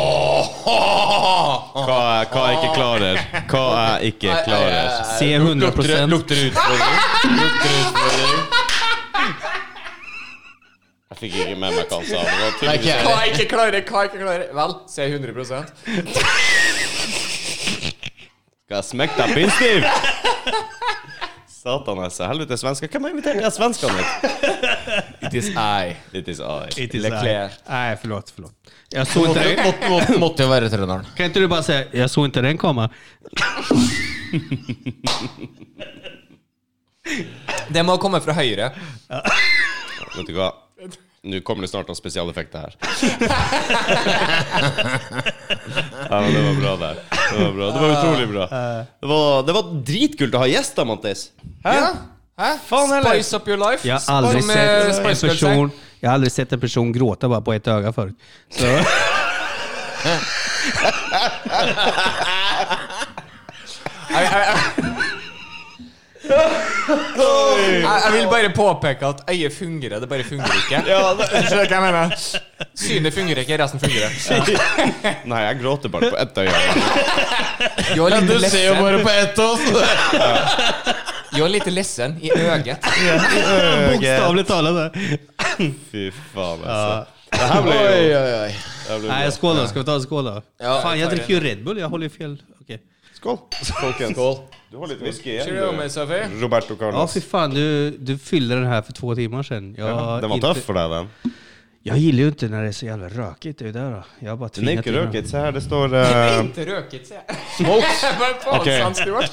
[SPEAKER 1] Hva, jeg- hva jeg ikke klarer. Hva jeg ikke klarer.
[SPEAKER 2] Se 100 procent.
[SPEAKER 1] Eh, Lukter utfordring. Lukter utfordring. Jeg fikk ikke med meg hva han sa. Det var tydeligvis
[SPEAKER 5] ikke jeg.
[SPEAKER 3] Hva jeg ikke klarer, hva jeg ikke klarer. Vel, se 100
[SPEAKER 1] Skal jeg smekke deg pinnstiv? Satan, altså. Helvete, svensker. Hvem har invitert de her svenskene hit?
[SPEAKER 4] It is I.
[SPEAKER 1] It is I.
[SPEAKER 2] Lite så
[SPEAKER 4] Leclerc.
[SPEAKER 2] här. Nej, förlåt, förlåt. Jag såg inte den.
[SPEAKER 5] Måtte, måtte, måtte jo være trønderen.
[SPEAKER 2] Kan inte du bara säga jag såg inte den komma?
[SPEAKER 3] Det må komme fra høyre.
[SPEAKER 1] Vet du hva? Nå kommer det snart noen spesialeffekter her. Ja, men det var bra der. Det var bra. Det var utrolig bra. Det var, det var dritkult å ha gjester, Mattis. Hæ?
[SPEAKER 3] Ja. Hæ?
[SPEAKER 1] Faen heller.
[SPEAKER 3] Spice up your life.
[SPEAKER 2] Jag har aldrig
[SPEAKER 3] Som, eh,
[SPEAKER 2] sett en
[SPEAKER 3] Spice Girls sier.
[SPEAKER 2] person Jag har aldrig sett en person gråta bara på ett öga förut. Så,
[SPEAKER 3] Jeg, jeg, jeg, jeg, jeg vil bare påpeke at øyet fungerer, det bare fungerer ikke. Skjønner du hva jeg mener? Synet fungerer ikke, resten fungerer.
[SPEAKER 1] Nei, jeg gråter bare på ett øye.
[SPEAKER 3] Du har
[SPEAKER 4] Du
[SPEAKER 3] lite
[SPEAKER 4] ser jo
[SPEAKER 3] lessen,
[SPEAKER 4] bare på ett av oss.
[SPEAKER 3] du har lite lessen i øyet.
[SPEAKER 2] bokstavligt talat.
[SPEAKER 1] Fy faen, altså. Det her ble jo
[SPEAKER 4] oi, oi.
[SPEAKER 1] det her ble
[SPEAKER 2] Nej,
[SPEAKER 1] bra.
[SPEAKER 2] skål då. Ska vi ta en skål då?
[SPEAKER 4] Ja,
[SPEAKER 2] Fan, jag
[SPEAKER 4] tar
[SPEAKER 2] dricker ju Red Bull. Jag håller ju fel. Okej.
[SPEAKER 1] Skål, folkens.
[SPEAKER 4] Skål.
[SPEAKER 1] Du har litt whisky
[SPEAKER 3] Cheerio, my
[SPEAKER 1] igjen, du.
[SPEAKER 3] Sophie.
[SPEAKER 1] Roberto
[SPEAKER 2] Ja,
[SPEAKER 1] Carlos.
[SPEAKER 2] fy fan. Du, du fyllde den här för två timmar sedan. Jag,
[SPEAKER 1] Den var
[SPEAKER 2] inte-
[SPEAKER 1] tøff for deg, den.
[SPEAKER 2] jag gillar ju inte när det är så jävla rökigt. Det är ju där då. Jag har bara
[SPEAKER 1] Den er
[SPEAKER 2] tvingat
[SPEAKER 1] ikke
[SPEAKER 2] in den.
[SPEAKER 1] røket. Se her, det står eh,
[SPEAKER 3] Ikke røket, sier jeg.
[SPEAKER 1] Smokes.
[SPEAKER 3] Hva faen,
[SPEAKER 1] Ok.
[SPEAKER 3] San Stuart?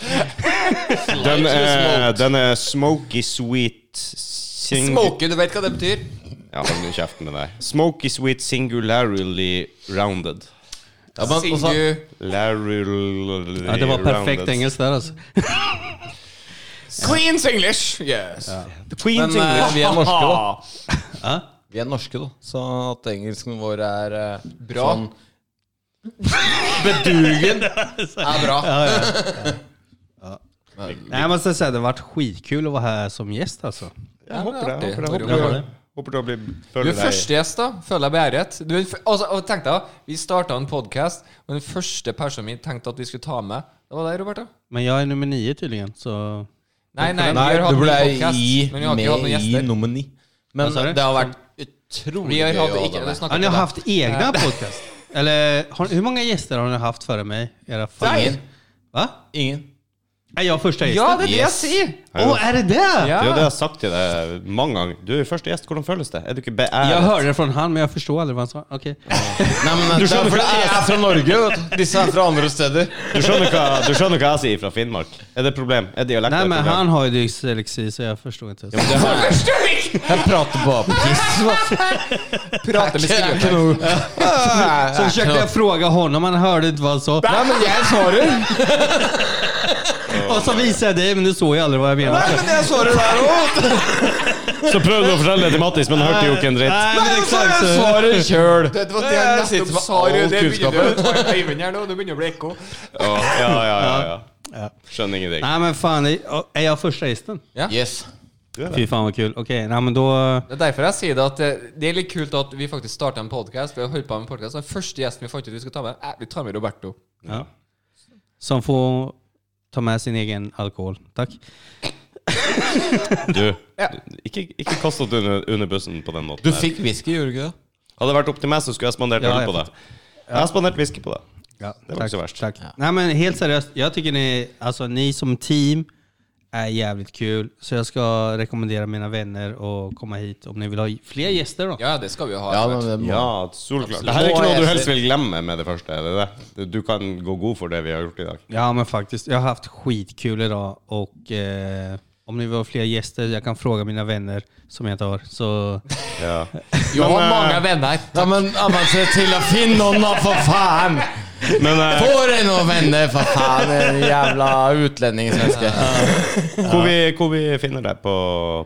[SPEAKER 1] Den er, den er smoky sweet sing
[SPEAKER 3] Smoky, du vet hva det betyr?
[SPEAKER 1] Ja, hold nå kjeften med deg. Smoky sweet singularly rounded.
[SPEAKER 5] Ja, men, og så-
[SPEAKER 4] Singu.
[SPEAKER 1] Larry
[SPEAKER 2] Ja, det var perfekt alltså. engelsk der, altså.
[SPEAKER 3] Queen's English! Yes.
[SPEAKER 1] The Queen
[SPEAKER 5] men eh, vi er norske, da.
[SPEAKER 2] Hæ?
[SPEAKER 5] Vi er norske, da. Så at engelsken vår er eh,
[SPEAKER 4] Bra.
[SPEAKER 5] Sånn, bedugen er bra.
[SPEAKER 2] Nej, jag måste säga det har varit skitkul att vara här som gäst alltså.
[SPEAKER 1] Jeg håper det. jeg Håper, det,
[SPEAKER 2] Ja,
[SPEAKER 1] håper,
[SPEAKER 2] det
[SPEAKER 1] det.
[SPEAKER 2] er.
[SPEAKER 1] håper det blir
[SPEAKER 3] Du
[SPEAKER 1] føler
[SPEAKER 3] er første gjest, da. Føler jeg blir æret. Du er f- alltså, altså, og tenk deg, vi starta en podkast, og den første personen vi tenkte at vi skulle ta med, det var deg, Roberta.
[SPEAKER 2] Men jag är nummer nio tydligen, så...
[SPEAKER 3] Nei,
[SPEAKER 5] Nei,
[SPEAKER 3] nei, vi har hatt
[SPEAKER 5] du ble
[SPEAKER 3] en podcast,
[SPEAKER 5] i
[SPEAKER 3] men vi har
[SPEAKER 5] med
[SPEAKER 3] ikke hatt noen
[SPEAKER 5] i
[SPEAKER 3] gjester.
[SPEAKER 5] nummer ni. Men
[SPEAKER 2] Hva sa du?
[SPEAKER 5] det har vært utrolig
[SPEAKER 3] Vi har
[SPEAKER 5] å
[SPEAKER 3] hatt
[SPEAKER 5] ha
[SPEAKER 3] ikke,
[SPEAKER 5] deg
[SPEAKER 3] det
[SPEAKER 5] med.
[SPEAKER 2] Har
[SPEAKER 3] snakket
[SPEAKER 2] ni
[SPEAKER 3] vi om.
[SPEAKER 2] haft egna podcast? Eller har, hur många gäster har ni haft före mig? Era
[SPEAKER 5] Ingen.
[SPEAKER 2] favoriter? Va?
[SPEAKER 5] Ingen.
[SPEAKER 2] Är jag första
[SPEAKER 3] Ja,
[SPEAKER 2] gästen?
[SPEAKER 3] det er det jeg
[SPEAKER 5] Yes.
[SPEAKER 3] sier!
[SPEAKER 2] Åh, är det det?
[SPEAKER 1] Det
[SPEAKER 3] Ja.
[SPEAKER 1] er jo det jeg har sagt til deg mange ganger. Du er første gjest, hvordan føles det? Er du ikke beæret?
[SPEAKER 2] Jag hörde det från han, men jag förstår aldrig vad han sa. Okej.
[SPEAKER 5] Nei, men
[SPEAKER 1] Du
[SPEAKER 5] det
[SPEAKER 1] skjønner
[SPEAKER 5] er fordi
[SPEAKER 1] ikke-
[SPEAKER 5] jeg er fra Norge. Vet du. Disse er fra andre steder.
[SPEAKER 1] Du skjønner, hva, du skjønner hva jeg sier fra Finnmark? Er det et problem? Er dialekten
[SPEAKER 2] Nej,
[SPEAKER 1] et
[SPEAKER 2] men
[SPEAKER 1] problem?
[SPEAKER 2] han har ju dyslexi, så jag förstår inte.
[SPEAKER 5] Jeg prater bare på tiss.
[SPEAKER 3] Prate med
[SPEAKER 5] Jeg er
[SPEAKER 3] skrivefeil.
[SPEAKER 5] ikke noe-
[SPEAKER 2] Så försökte jag fråga honom, han hörde inte vad han sa.
[SPEAKER 5] Nei, men jeg svarer.
[SPEAKER 2] Och så visade jag dig, men du såg ju aldrig vad jag menade.
[SPEAKER 5] Nei, men jeg svarer der òg.
[SPEAKER 1] Så prøvde du å fortelle det til Mattis, men hørte jo ikke en dritt.
[SPEAKER 2] Nej, men exakt så.
[SPEAKER 5] svarer sjøl.
[SPEAKER 3] Det var det jeg
[SPEAKER 5] sitter
[SPEAKER 3] nettopp
[SPEAKER 5] med
[SPEAKER 3] sa, Rune.
[SPEAKER 5] all
[SPEAKER 3] Det begynner
[SPEAKER 5] kunnskapen.
[SPEAKER 3] du å ta i øynene her nå. Det begynner å bli ekko.
[SPEAKER 1] Ja, ja, ja, ja, ja. Skjønner ingenting.
[SPEAKER 2] Nej, men fan, är- är jag första gästen?
[SPEAKER 5] Yes.
[SPEAKER 2] Fy fan vad kul. Okej, nej men då...
[SPEAKER 3] Det er derfor jeg sier det at eh, det er litt kult at vi faktisk starta en podkast. Vi har holdt på med en podcast, og Den første gjesten vi fant ut vi skulle ta med, eh, vi tar med Roberto.
[SPEAKER 2] Ja. Som får ta med sin egen alkohol. Tack.
[SPEAKER 1] Du, ikke, ikke kast oss under, under bussen på den måten.
[SPEAKER 5] Du
[SPEAKER 1] her.
[SPEAKER 5] fikk whisky, gjorde du ikke det?
[SPEAKER 1] Hadde det vært opp til meg, så skulle jeg spandert
[SPEAKER 2] Ja,
[SPEAKER 1] øl
[SPEAKER 2] jeg
[SPEAKER 1] på deg. Jeg har spandert whisky på deg. var
[SPEAKER 2] Ja, tack,
[SPEAKER 1] också värst.
[SPEAKER 2] Tack. Nej, men helt seriöst, jag tycker ni, alltså, ni som team är jävligt kul. Så jag ska rekommendera mina vänner att komma hit om ni vill ha fler gäster. Då.
[SPEAKER 3] Ja, det skal vi jo ha.
[SPEAKER 5] Ja,
[SPEAKER 3] Robert.
[SPEAKER 5] men det må
[SPEAKER 1] Ja, solklart. Det her er ikke noe du helst vil glemme med det første. Er det det? Du kan gå god for det vi har gjort i dag.
[SPEAKER 2] Ja men faktiskt, jag har haft skitkul idag och eh, om ni vill ha fler gäster, jag kan fråga mina vänner som jag inte har. Så
[SPEAKER 1] Ja.
[SPEAKER 3] Jeg har
[SPEAKER 1] Men,
[SPEAKER 3] mange
[SPEAKER 1] eh,
[SPEAKER 3] venner.
[SPEAKER 5] Ja, men, ja, men se til å finne noen, da, for faen!
[SPEAKER 1] men eh,
[SPEAKER 5] Får deg noen venner, for faen, den jævla utlendingssvenske.
[SPEAKER 1] hvor, vi, hvor vi finner deg på,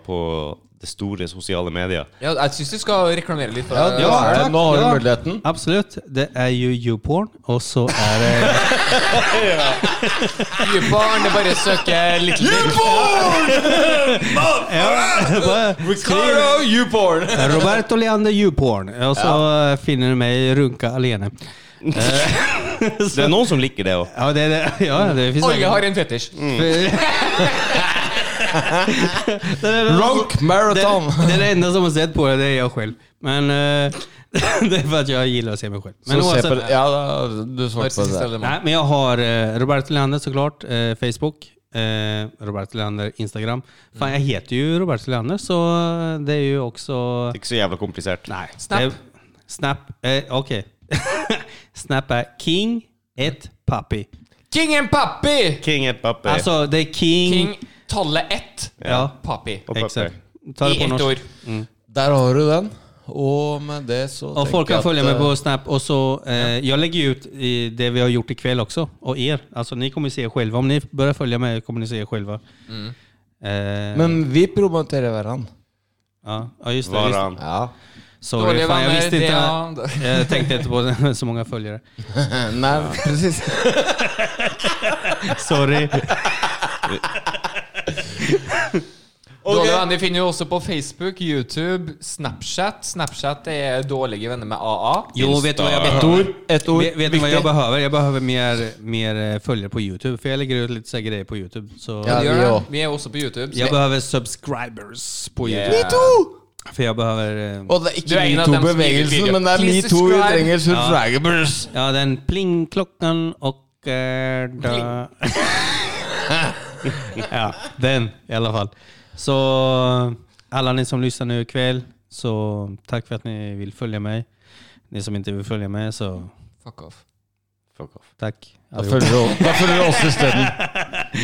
[SPEAKER 1] på det store sosiale medier?
[SPEAKER 3] Ja, jeg syns du skal reklamere litt. For,
[SPEAKER 5] Ja, er
[SPEAKER 2] Ja,
[SPEAKER 5] det-
[SPEAKER 2] takk,
[SPEAKER 5] nå har du
[SPEAKER 2] ja.
[SPEAKER 5] muligheten.
[SPEAKER 2] absolut, det är ju YouPorn och så är det...
[SPEAKER 3] Nye barn, det er bare å søke litt
[SPEAKER 2] Ricardo Youporn! Roberto Leander Youporn. Og så eh, finner du meg i Runka alene.
[SPEAKER 1] Det er noen som liker det òg.
[SPEAKER 2] Ja, det, det, ja, det finnes
[SPEAKER 3] Alle har en fetisj.
[SPEAKER 5] Rock marathon!
[SPEAKER 2] Det er det enda som har sett på det, det er jeg selv. Men eh, det er for at jeg liker å se meg selv. Men,
[SPEAKER 5] Så se på
[SPEAKER 2] oavsett,
[SPEAKER 5] det. Ja, da, du svarte på
[SPEAKER 3] Narsissist
[SPEAKER 5] det.
[SPEAKER 3] eller
[SPEAKER 2] nei,
[SPEAKER 3] mann.
[SPEAKER 2] men jeg har eh, Roberto Leander, så klart. eh, Facebook. eh, Roberto Leander Instagram. Fan, jeg heter jo Roberto Leander, så eh, det er jo også
[SPEAKER 1] Ikke så jævla komplisert.
[SPEAKER 2] Nei.
[SPEAKER 3] Snap.
[SPEAKER 2] Det, snap eh, Ok. snap er King et Papi.
[SPEAKER 3] King and Papi!
[SPEAKER 1] King et pappi.
[SPEAKER 2] Altså, det er King,
[SPEAKER 3] King tallet ett.
[SPEAKER 2] Ja,
[SPEAKER 3] Papi.
[SPEAKER 1] og pappi.
[SPEAKER 2] exakt. Ta det
[SPEAKER 3] I
[SPEAKER 2] på
[SPEAKER 3] ett
[SPEAKER 2] norsk.
[SPEAKER 3] år.
[SPEAKER 5] Der har du den. Og med det så
[SPEAKER 2] Og
[SPEAKER 5] tenker
[SPEAKER 2] folk
[SPEAKER 5] jeg
[SPEAKER 2] kan
[SPEAKER 5] at,
[SPEAKER 2] følge med
[SPEAKER 5] eh,
[SPEAKER 2] på Snap. Og så, eh, jeg legger ut i det vi har gjort i kveld også, og er. Altså, ni kommer se selv. Om ni begynner å følge med, kommer ni se selv.
[SPEAKER 3] Mm.
[SPEAKER 2] Eh,
[SPEAKER 5] Men vi promoterer hverandre.
[SPEAKER 2] ja, ja, just det.
[SPEAKER 1] Var
[SPEAKER 2] Just,
[SPEAKER 1] han.
[SPEAKER 5] Ja.
[SPEAKER 2] sorry,
[SPEAKER 3] Dårlige
[SPEAKER 2] fan, jeg
[SPEAKER 3] venner,
[SPEAKER 2] visste
[SPEAKER 3] det
[SPEAKER 2] ikke
[SPEAKER 3] er-
[SPEAKER 2] Jeg tenkte ikke på det med så mange følgere.
[SPEAKER 5] Nei, presis.
[SPEAKER 2] Sorry.
[SPEAKER 3] Dårlige venner finner du også på Facebook, YouTube, Snapchat. Snapchat er dårlige venner med AA.
[SPEAKER 2] Jo, vet du vad jag
[SPEAKER 1] Ett
[SPEAKER 2] behöver? Ett
[SPEAKER 5] ord.
[SPEAKER 2] Vet, vet du vad jag
[SPEAKER 5] Viktigt.
[SPEAKER 2] behöver? Jag behöver mer, mer eh, följare på Youtube, för jag lägger ut lite så här grejer på Youtube. Så
[SPEAKER 5] Ja,
[SPEAKER 3] Vi,
[SPEAKER 5] vi
[SPEAKER 3] gjør det.
[SPEAKER 5] også.
[SPEAKER 3] vi er også på YouTube. så
[SPEAKER 2] Jag behöver subscribers på Youtube.
[SPEAKER 3] Yeah.
[SPEAKER 2] För jag behöver... eh,
[SPEAKER 5] Og det er
[SPEAKER 3] Du er
[SPEAKER 5] ikke
[SPEAKER 3] en av dem som liker
[SPEAKER 5] metoo-bevegelsen,
[SPEAKER 3] video.
[SPEAKER 5] men det er
[SPEAKER 3] Please
[SPEAKER 5] metoo vi
[SPEAKER 3] subscribe.
[SPEAKER 5] trenger subscribers.
[SPEAKER 2] Ja, den plingklockan och... eh, da- ja, den i alla fall. Så alla ni som lyssnar nu ikväll, så tack för att ni vill följa mig. Ni som inte vill följa mig, så
[SPEAKER 3] Fuck off.
[SPEAKER 1] Fuck off.
[SPEAKER 2] tack.
[SPEAKER 5] Da følger du oss isteden.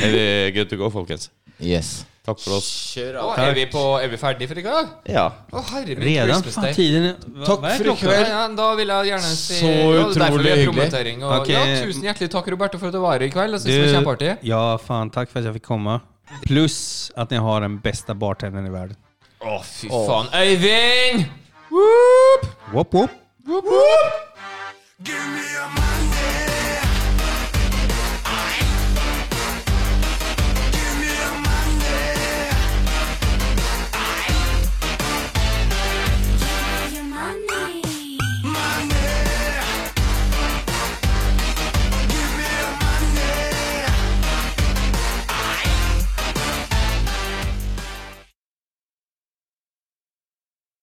[SPEAKER 1] Er vi good to go, folkens?
[SPEAKER 5] Yes.
[SPEAKER 1] Takk for oss.
[SPEAKER 4] Kjør
[SPEAKER 3] Å,
[SPEAKER 4] av.
[SPEAKER 3] er, vi på, er vi ferdige for i dag?
[SPEAKER 1] Ja.
[SPEAKER 3] Å, herre min
[SPEAKER 2] Redan?
[SPEAKER 3] Christmas
[SPEAKER 2] Faen,
[SPEAKER 3] Day.
[SPEAKER 2] tiden er- hva-
[SPEAKER 4] Takk
[SPEAKER 2] hva er
[SPEAKER 4] for i
[SPEAKER 2] klokka?
[SPEAKER 4] kveld.
[SPEAKER 3] Ja, ja, da vil jeg gjerne si
[SPEAKER 4] Så
[SPEAKER 3] ja, det er derfor
[SPEAKER 4] utrolig
[SPEAKER 3] vi har
[SPEAKER 4] hyggelig.
[SPEAKER 3] promotering. Og,
[SPEAKER 2] Ok.
[SPEAKER 3] ja, tusen hjertelig takk, Roberto, for at du var her i kveld. Jeg synes det var kjempeartig.
[SPEAKER 2] ja, fan, tack för att jag fick komma. Plus att ni har den bästa bartendern i världen.
[SPEAKER 3] Å, fy faen. Øyvind!
[SPEAKER 2] Whoop, whoop.
[SPEAKER 6] Give me a mic.